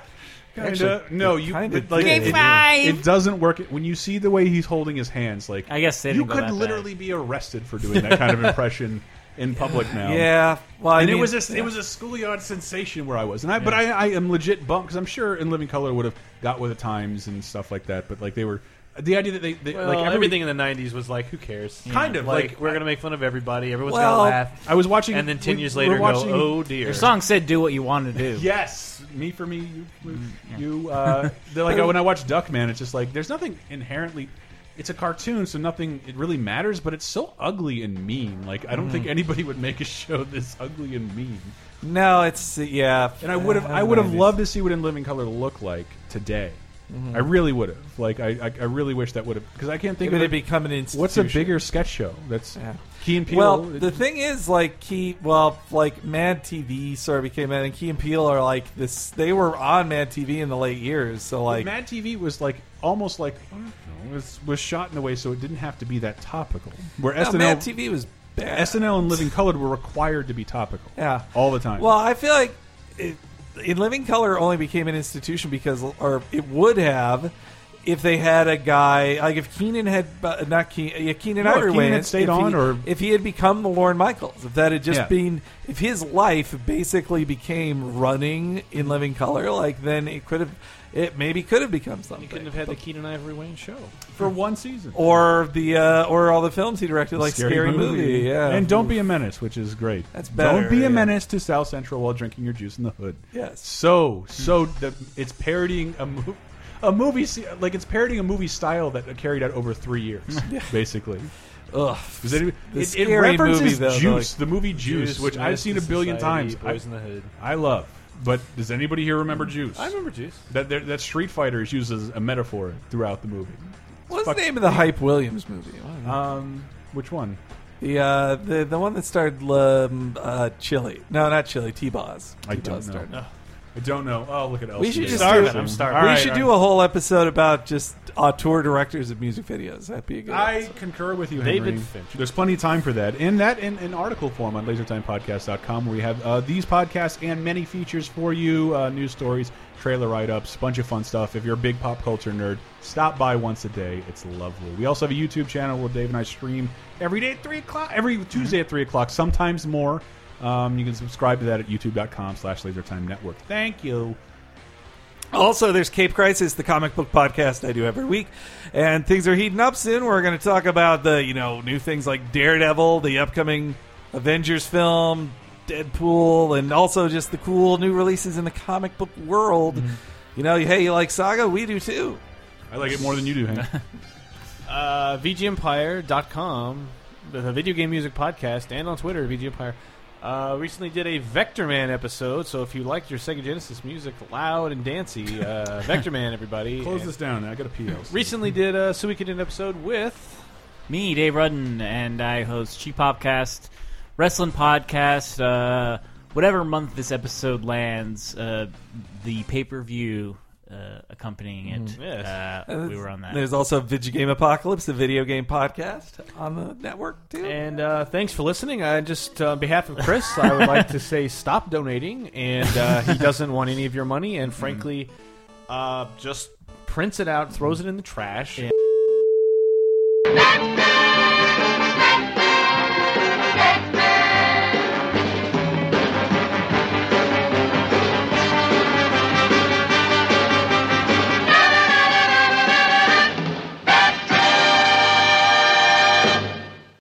A: Kinda- no, you
B: kinda
A: but, like
B: did.
A: it,
B: Game
A: it doesn't work when you see the way he's holding his hands. Like
D: I guess they
A: you
D: didn't go
A: could
D: that
A: literally be arrested for doing that kind of impression in public now.
B: Yeah, well, I
A: and it
B: mean-
A: was a, it was a schoolyard sensation where I was, and I but I, I am legit bummed because I'm sure in Living Color would have got with the times and stuff like that, but like they were the idea that they, they
C: Well,
A: like every-
C: everything in the '90s was like, who cares?
A: Kind of,
C: like,
A: like-
C: we're gonna make fun of everybody. Everyone's
A: Well,
C: gonna laugh.
A: I was watching-
C: and then ten
A: we-
C: years
A: we
C: later,
A: were watching-
C: go, oh dear.
D: Your song said, "Do what you want to do."
A: Yes, me for me, you for
B: Mm,
A: me, you. Uh, they're like when I watch Duckman, it's just like there's nothing inherently. It's a cartoon, so nothing it really matters. But it's so ugly and mean. Like I don't think
B: Mhm.
A: anybody would make a show this ugly and mean.
B: No, it's yeah.
A: And I would have, I would have loved to see what In Living Color looked like today.
B: Mhm.
A: I really would have. Like I, I, I really wish that would have because I can't think
B: It
A: of
B: would become an
A: What's a
B: institution.
A: bigger sketch show? That's
B: Yeah.
A: Key and Peele.
B: Well, the thing is, like Key, well, like Mad TV sort of became that, and Key and Peele are like this. They were on Mad TV in the late years, so like
A: Mad TV was like almost like I don't know, was was shot in a way so it didn't have to be that topical. Where
B: No,
A: SNL
B: Mad TV was bad.
A: SNL and Living Colored were required to be topical.
B: Yeah.
A: all the time.
B: Well, I feel like it, in Living Color only became an institution because, or it would have. If they had a guy like if Keenan had uh, not Keenan, yeah, Keenan
A: No, if
B: Ivory
A: Keenan
B: Wayans,
A: had stayed
B: if
A: on
B: he,
A: or-
B: if he had become the Lauren Michaels, if that had just
A: Yeah.
B: been if his life basically became running in Living Color, like then it could have it maybe could have become something.
C: You couldn't have had the Keenan Ivory Wayne show
A: for one season,
B: or the uh, or all the films he directed, like Scary, movie. yeah.
A: And don't be a menace, which is great.
B: That's better,
A: Don't be
B: yeah.
A: a menace to South Central while drinking your juice in the hood.
B: Yes.
A: So so the, it's parodying a movie. A movie, se- like it's parodying a movie style that carried out over three years, basically.
B: Ugh.
A: Does any-
B: The
A: it, it
B: Scary
A: references
B: movie, though,
A: Juice,
B: like-
A: the movie Juice,
B: Juice,
A: which I've
B: Menace
A: seen
B: to
A: a billion
B: Society, Mm.
A: times.
B: Boys
A: I,
B: in the Hood.
A: I love. But does anybody here remember Juice?
C: I remember Juice.
A: That that that Street Fighter is used as a metaphor throughout the movie.
B: What's
A: Fuck-
B: the name of the Hype Williams movie?
A: Um, which one?
B: The uh, the the one that starred um, uh, Chili. No, not Chili. T Boz.
A: I don't know. I don't know. Oh, look at Elsie.
B: We should just do,
A: All
B: Oh. We
A: right,
B: should
A: all
B: do a whole episode about just auteur directors of music videos. That'd be a good.
A: I concur with you,
B: David
A: Henry.
B: Fincher.
A: There's plenty of time for that. And that in, in article form on lasertimepodcast.com, where we have uh, these podcasts and many features for you uh, news stories, trailer write ups, bunch of fun stuff. If you're a big pop culture nerd, stop by once a day. It's lovely. We also have a YouTube channel where Dave and I stream every day at 3 o'clock, every Tuesday at 3 o'clock, sometimes more. Um, you can subscribe to that at youtube.com slash lasertime network. Thank you.
B: Also, there's Cape Crisis, the comic book podcast I do every week, and things are heating up soon. We're going to talk about the you know new things like Daredevil, the upcoming Avengers film, Deadpool, and also just the cool new releases in the comic book world.
A: Mm-hmm.
B: You know, hey, you like Saga? We do too.
A: I like it more than you do, Hank.
C: uh, VGEmpire.com, the the video game music podcast, and on Twitter, VGEmpire. Uh, recently did a Vector Man episode, so if you liked your Sega Genesis music loud and dancy, uh, Vector Man, everybody.
A: Close
C: And
A: this down. I got a pee. Elsie.
C: Recently did a Suikoden episode with.
D: Me, Dave Rudden, and I host Cheap Popcast, Wrestling Podcast. Uh, whatever month this episode lands, uh, the pay per view uh, accompanying it.
B: Mm-hmm.
D: Uh, we were on that.
B: There's also Video Game Apocalypse, the video game podcast on the network.
C: And uh, thanks for listening. I just, uh, on behalf of Chris, I would like to say stop donating, and uh, he doesn't want any of your money, and frankly, uh, just prints it out, throws it in the trash.